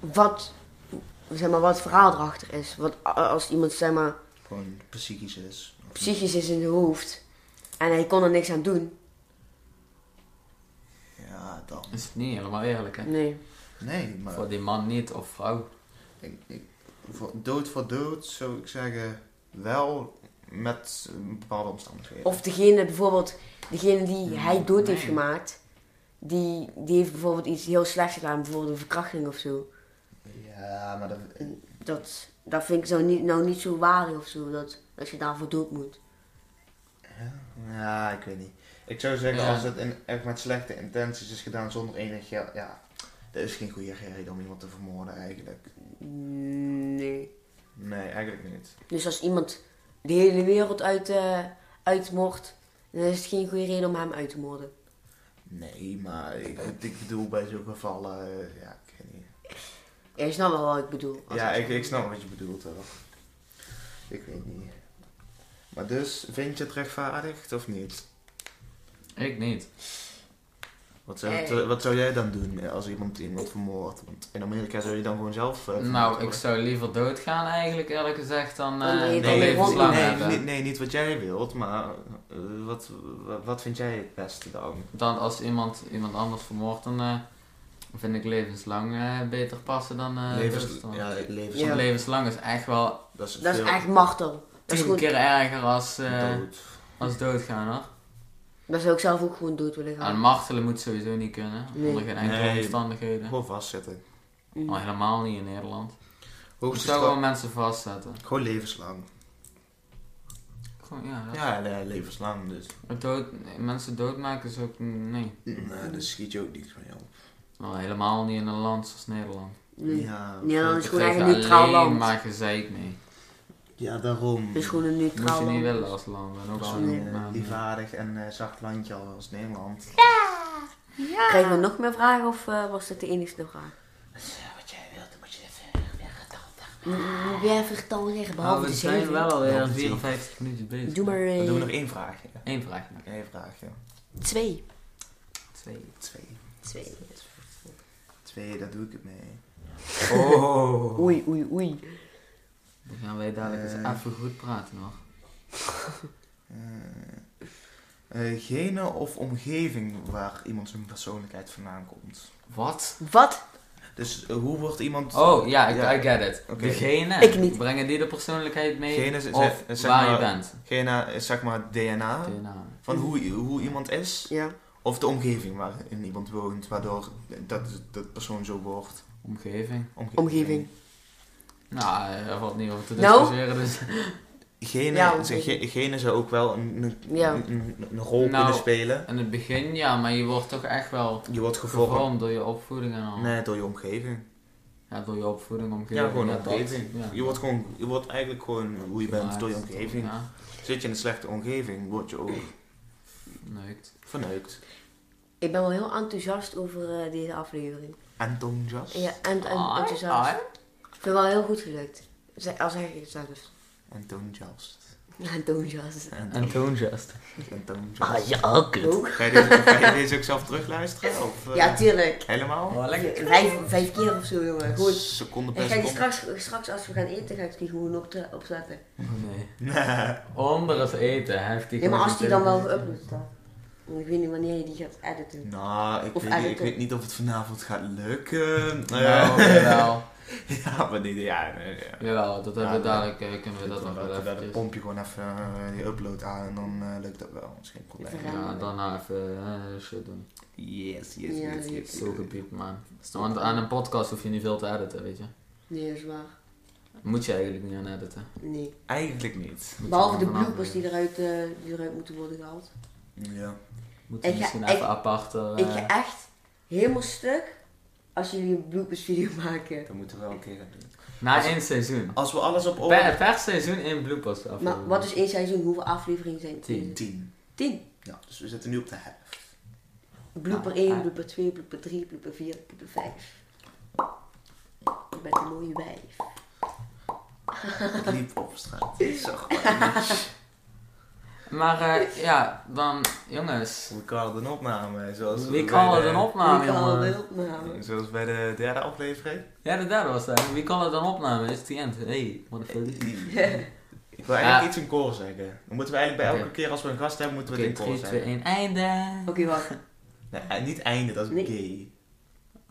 Speaker 3: wat, zeg maar, wat het verhaal erachter is. Want a- als iemand zeg maar,
Speaker 1: Gewoon psychisch is.
Speaker 3: psychisch is in zijn hoofd en hij kon er niks aan doen.
Speaker 1: Ja, dan.
Speaker 4: Is het niet helemaal eerlijk, hè?
Speaker 3: Nee.
Speaker 1: Nee, maar
Speaker 4: Voor die man niet, of vrouw.
Speaker 1: ik, ik, voor, dood voor dood zou ik zeggen wel met een bepaalde omstandigheden.
Speaker 3: Of degene bijvoorbeeld, degene die hij dood heeft
Speaker 4: nee.
Speaker 3: gemaakt, die, die heeft bijvoorbeeld iets heel slechts gedaan, bijvoorbeeld een verkrachting of zo.
Speaker 1: Ja, maar dat...
Speaker 3: Dat, dat vind ik zo niet, nou niet zo waar of zo, dat, dat je daarvoor dood moet.
Speaker 1: Ja, ik weet niet. Ik zou zeggen,
Speaker 4: Ja.
Speaker 1: als het in, echt met slechte intenties is gedaan zonder enig geld, ja... Dat is geen goede reden om iemand te vermoorden eigenlijk.
Speaker 3: Nee.
Speaker 1: Nee, eigenlijk niet.
Speaker 3: Dus als iemand de hele wereld uit, eh uitmoordt, dan is het geen goede reden om hem uit te moorden.
Speaker 1: Nee, maar ik, ik bedoel bij zo'n gevallen, eh, ja, ik weet niet.
Speaker 3: Ja, je snapt wel wat ik bedoel. Als
Speaker 1: Ja,
Speaker 3: het-
Speaker 1: ik, ik snap wat je bedoelt wel. Ik weet niet. Maar dus, vind je het rechtvaardigd of niet?
Speaker 4: Ik niet.
Speaker 1: Wat zou, het,
Speaker 3: Eh.
Speaker 1: eh, wat zou jij dan doen eh, als iemand iemand vermoordt? Want in Amerika zou je dan gewoon zelf... eh, vermoord
Speaker 4: Nou, ik
Speaker 1: worden.
Speaker 4: zou liever doodgaan eigenlijk, eerlijk gezegd, dan
Speaker 3: Dan ben
Speaker 4: eh
Speaker 1: Nee,
Speaker 3: je
Speaker 4: dan
Speaker 3: dan
Speaker 4: levenslang
Speaker 3: weer
Speaker 1: nee,
Speaker 4: hebben.
Speaker 1: nee, nee, niet wat jij wilt, maar eh, wat, wat, wat vind jij het beste dan?
Speaker 4: Dan als iemand, iemand anders vermoordt, dan eh, vind ik levenslang eh, beter passen dan eh
Speaker 1: levens,
Speaker 4: doodstraf.
Speaker 1: ja, levens,
Speaker 4: Want
Speaker 3: Ja.
Speaker 4: levenslang is echt wel
Speaker 1: Dat is,
Speaker 3: Dat is
Speaker 1: veel
Speaker 3: echt martel. Dat is,
Speaker 4: tien
Speaker 3: gewoon,
Speaker 4: keer erger als, eh,
Speaker 1: dood.
Speaker 4: als doodgaan hoor.
Speaker 3: dat zou ik zelf ook gewoon dood willen
Speaker 4: En
Speaker 3: gaan.
Speaker 4: martelen moet sowieso niet kunnen,
Speaker 3: Nee.
Speaker 4: onder geen enkele
Speaker 1: Nee.
Speaker 4: omstandigheden.
Speaker 1: Gewoon vastzitten.
Speaker 3: Mm.
Speaker 4: Al helemaal niet in Nederland. Ik
Speaker 1: Hoogste
Speaker 4: zou wel
Speaker 1: straf-
Speaker 4: mensen vastzetten.
Speaker 1: Gewoon levenslang.
Speaker 4: Gewoon, ja, dat-
Speaker 1: Ja, nee, levenslang dus.
Speaker 4: Het Dood, mensen doodmaken is ook, nee.
Speaker 1: Nee, dus schiet je ook niks van jou.
Speaker 4: Nou, helemaal niet in een land zoals Nederland.
Speaker 3: Nee.
Speaker 1: Ja,
Speaker 3: Ja, dan is
Speaker 4: Ik
Speaker 3: gewoon echt
Speaker 4: krijg
Speaker 3: een neutraal
Speaker 4: alleen
Speaker 3: land.
Speaker 4: maar gezeik mee.
Speaker 1: Ja, daarom.
Speaker 3: De schoenen nu
Speaker 4: Moet je
Speaker 3: trouwen.
Speaker 4: niet willen als land. En ook al
Speaker 1: Zo'n
Speaker 4: een
Speaker 1: eh,
Speaker 4: naam.
Speaker 1: lievaardig en eh, zacht landje als Nederland.
Speaker 3: Krijgen we nog meer vragen of eh, was dit de enigste vraag?
Speaker 1: Eh, Wat jij wilt, moet je even
Speaker 3: Moet jij vertellen,
Speaker 4: Nou, Ah,
Speaker 2: Maar
Speaker 3: behalve
Speaker 2: we
Speaker 3: de
Speaker 2: zijn
Speaker 3: zeven.
Speaker 2: wel alweer
Speaker 1: Behalve de
Speaker 2: 54 minuutjes bezig.
Speaker 3: Doe maar
Speaker 1: Dan doen we nog
Speaker 3: eh,
Speaker 1: één vraagje. Nog
Speaker 2: Eén vraagje nog.
Speaker 1: één vraagje.
Speaker 3: twee.
Speaker 2: Twee.
Speaker 1: Twee.
Speaker 3: Twee.
Speaker 1: Twee, daar doe ik het mee. Oh.
Speaker 3: Oei, oei, oei.
Speaker 2: Dan gaan wij dadelijk eens
Speaker 1: Eh.
Speaker 2: even goed praten nog.
Speaker 1: Eh, eh, genen of omgeving waar iemand zijn persoonlijkheid vandaan komt.
Speaker 2: Wat?
Speaker 3: Wat?
Speaker 1: Dus eh, hoe wordt iemand...
Speaker 2: Oh, ja, ik
Speaker 1: Ja.
Speaker 2: I get it.
Speaker 1: Oké.
Speaker 2: Degene,
Speaker 3: Ik niet.
Speaker 2: brengen die de persoonlijkheid mee?
Speaker 1: Genen z-
Speaker 2: of
Speaker 1: zeg- zeg
Speaker 2: waar je
Speaker 1: maar-
Speaker 2: bent?
Speaker 1: Genen is zeg maar DNA
Speaker 4: nou,
Speaker 2: DNA.
Speaker 1: van hoe, hoe iemand is.
Speaker 3: Ja.
Speaker 1: Of de omgeving waarin iemand woont, waardoor dat, dat persoon zo wordt.
Speaker 4: Omgeving.
Speaker 3: Omgeving.
Speaker 4: Nou, er valt niet over te
Speaker 3: Nou.
Speaker 4: discussiëren. Dus.
Speaker 1: Genen,
Speaker 3: Ja,
Speaker 1: ze- ge- genen zou ook wel een, een,
Speaker 3: Ja.
Speaker 1: een- een rol
Speaker 4: Nou.
Speaker 1: kunnen spelen.
Speaker 4: In het begin ja, maar je wordt toch echt wel
Speaker 1: Je wordt gevormd
Speaker 4: gevormd door je opvoeding en al.
Speaker 1: nee, door je omgeving.
Speaker 4: Ja, door je opvoeding omgeving.
Speaker 1: Ja, gewoon
Speaker 4: ja,
Speaker 1: een
Speaker 4: dat.
Speaker 1: omgeving.
Speaker 4: Ja.
Speaker 1: Je wordt, gewoon, je wordt eigenlijk gewoon hoe je bent door je omgeving.
Speaker 4: Ja,
Speaker 1: Zit je in een slechte omgeving, word je ook
Speaker 4: neukt.
Speaker 1: verneukt.
Speaker 3: Ik ben wel heel enthousiast over eh, deze aflevering.
Speaker 1: Anton Jas.
Speaker 3: Ja, en, en
Speaker 4: Ai,
Speaker 3: enthousiast.
Speaker 4: ai.
Speaker 3: Ik vind het wel heel goed gelukt. Zeg- Al zeg ik het zelfs.
Speaker 1: Anton Jas.
Speaker 3: Enthousiast.
Speaker 4: En
Speaker 1: Anton
Speaker 4: toen just.
Speaker 1: Anton
Speaker 3: Ah,
Speaker 1: Jas.
Speaker 3: ja, ook.
Speaker 1: Ga je deze- ga je deze ook zelf terugluisteren? Of, eh,
Speaker 3: Ja, tuurlijk.
Speaker 1: Helemaal?
Speaker 4: Oh,
Speaker 3: Vijf, vijf keer of zo, jongen. Goed.
Speaker 1: Seconde
Speaker 3: Ik
Speaker 1: per
Speaker 3: ga die
Speaker 1: seconde.
Speaker 3: straks, straks als we gaan eten, ga ik die gewoon op, opzetten.
Speaker 4: Nee.
Speaker 1: Nee.
Speaker 4: Onder het eten heeft hij
Speaker 3: Ja, maar
Speaker 4: gewoon
Speaker 3: als die dan wel
Speaker 4: televisie.
Speaker 3: geüpload staat. Want ik weet niet wanneer je die gaat editen.
Speaker 1: Nou, ik
Speaker 3: Of
Speaker 1: weet, niet, ik
Speaker 3: editor.
Speaker 1: weet niet of het vanavond gaat lukken.
Speaker 4: Nou,
Speaker 1: Eh,
Speaker 4: jawel.
Speaker 1: ja, maar niet. Ja, nee, ja.
Speaker 4: Jawel, dat hebben
Speaker 1: Ja,
Speaker 4: we dadelijk, eh, kunnen we
Speaker 1: Dat
Speaker 4: dat nog wel
Speaker 1: dan
Speaker 4: even.
Speaker 1: pomp je gewoon even eh, die upload aan en dan eh, lukt dat wel. Dat is geen probleem.
Speaker 3: Even
Speaker 4: Ja, daarna even eh, shit doen.
Speaker 1: Yes, yes,
Speaker 3: Ja,
Speaker 1: yes,
Speaker 3: die-
Speaker 1: yes.
Speaker 4: Zo gepiept, man. Want aan een podcast hoef je niet veel te editen, weet je.
Speaker 3: Nee, dat is waar.
Speaker 4: Moet je eigenlijk niet aan editen.
Speaker 3: Nee.
Speaker 1: Eigenlijk niet.
Speaker 4: Moet
Speaker 3: Behalve
Speaker 4: je
Speaker 3: de
Speaker 4: gewoon vanaf
Speaker 3: bloopers die
Speaker 4: doen.
Speaker 3: eruit, eh, die eruit moeten worden gehaald.
Speaker 1: Ja.
Speaker 4: Moet je
Speaker 3: Ik ga-
Speaker 4: misschien
Speaker 3: ik-
Speaker 4: even apart. eh,
Speaker 3: Ik ga echt helemaal stuk als jullie een bloopers video maken.
Speaker 1: Dat moeten we wel een keer gaan doen.
Speaker 4: na één seizoen.
Speaker 1: Als we alles op oren...
Speaker 4: Per, per seizoen één bloopers aflevering.
Speaker 3: Maar wat is één seizoen? Hoeveel afleveringen zijn het?
Speaker 4: Tien.
Speaker 1: Tien.
Speaker 3: Tien.
Speaker 1: Ja, dus we zitten nu op de helft.
Speaker 3: Blooper
Speaker 4: Ah,
Speaker 3: 1,
Speaker 4: ah.
Speaker 3: blooper 2, blooper 3, blooper 4, blooper 5. Ik ben een mooie wijf.
Speaker 1: Ik liep op straat. Zo goed.
Speaker 4: Maar eh, ja, dan jongens.
Speaker 1: We callen een opname, eh, zoals
Speaker 4: Wie
Speaker 1: bij
Speaker 4: kan het
Speaker 1: de-
Speaker 4: een
Speaker 3: Nou,
Speaker 4: opname,
Speaker 3: ik kan
Speaker 4: jongen?
Speaker 3: wel opname.
Speaker 1: Zoals bij de derde aflevering.
Speaker 4: Ja, de derde was dat. Wie kan het een opname? Is die end. Hey, motherfucker.
Speaker 1: Ik wil eigenlijk
Speaker 4: Ja.
Speaker 1: iets in koor zeggen. Dan moeten we eigenlijk bij elke
Speaker 4: Oké.
Speaker 1: keer als we een gast hebben, moeten we
Speaker 4: Oké,
Speaker 1: het in koor
Speaker 4: 3, 2,
Speaker 1: zeggen.
Speaker 4: 1, einde.
Speaker 3: Oké, wacht.
Speaker 1: Nee, eh, niet einde, dat is
Speaker 3: Nee.
Speaker 1: gay.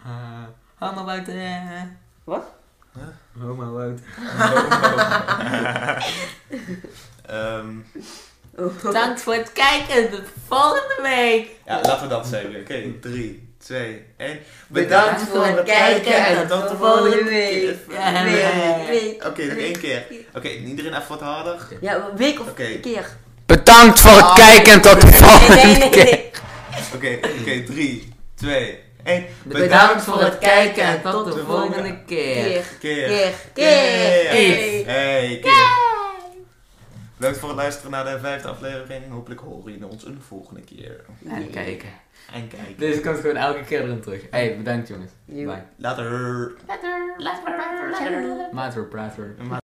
Speaker 4: Eh, Handen buiten.
Speaker 3: Wat?
Speaker 4: Homo buiten.
Speaker 1: Ehm,
Speaker 3: Oh.
Speaker 4: Bedankt voor het kijken. Tot volgende week.
Speaker 1: ja, laten we dat zeggen. Oké, 3, 2, 1.
Speaker 3: Bedankt voor het kijken en tot de volgende week.
Speaker 1: keer.
Speaker 3: Week, week,
Speaker 1: Oké, nog één
Speaker 3: week.
Speaker 1: keer. Oké, iedereen even wat harder.
Speaker 3: Ja, een week of
Speaker 1: Oké.
Speaker 3: een keer.
Speaker 4: Bedankt Ah, voor het kijken en tot de volgende
Speaker 3: Nee, nee, nee.
Speaker 1: Oké, oké, 3, 2, 1.
Speaker 4: Bedankt voor het kijken en tot de volgende keer.
Speaker 3: Keer.
Speaker 1: keer.
Speaker 3: Keer. Keer. Keer.
Speaker 1: Hey, keer. Bedankt voor het luisteren naar de vijfde aflevering. Hopelijk horen jullie ons een volgende keer.
Speaker 4: En kijken.
Speaker 1: En kijken.
Speaker 4: Deze komt gewoon elke keer erin terug. Hey, bedankt jongens.
Speaker 3: Jo.
Speaker 4: Bye.
Speaker 1: Later.
Speaker 4: Matter prater.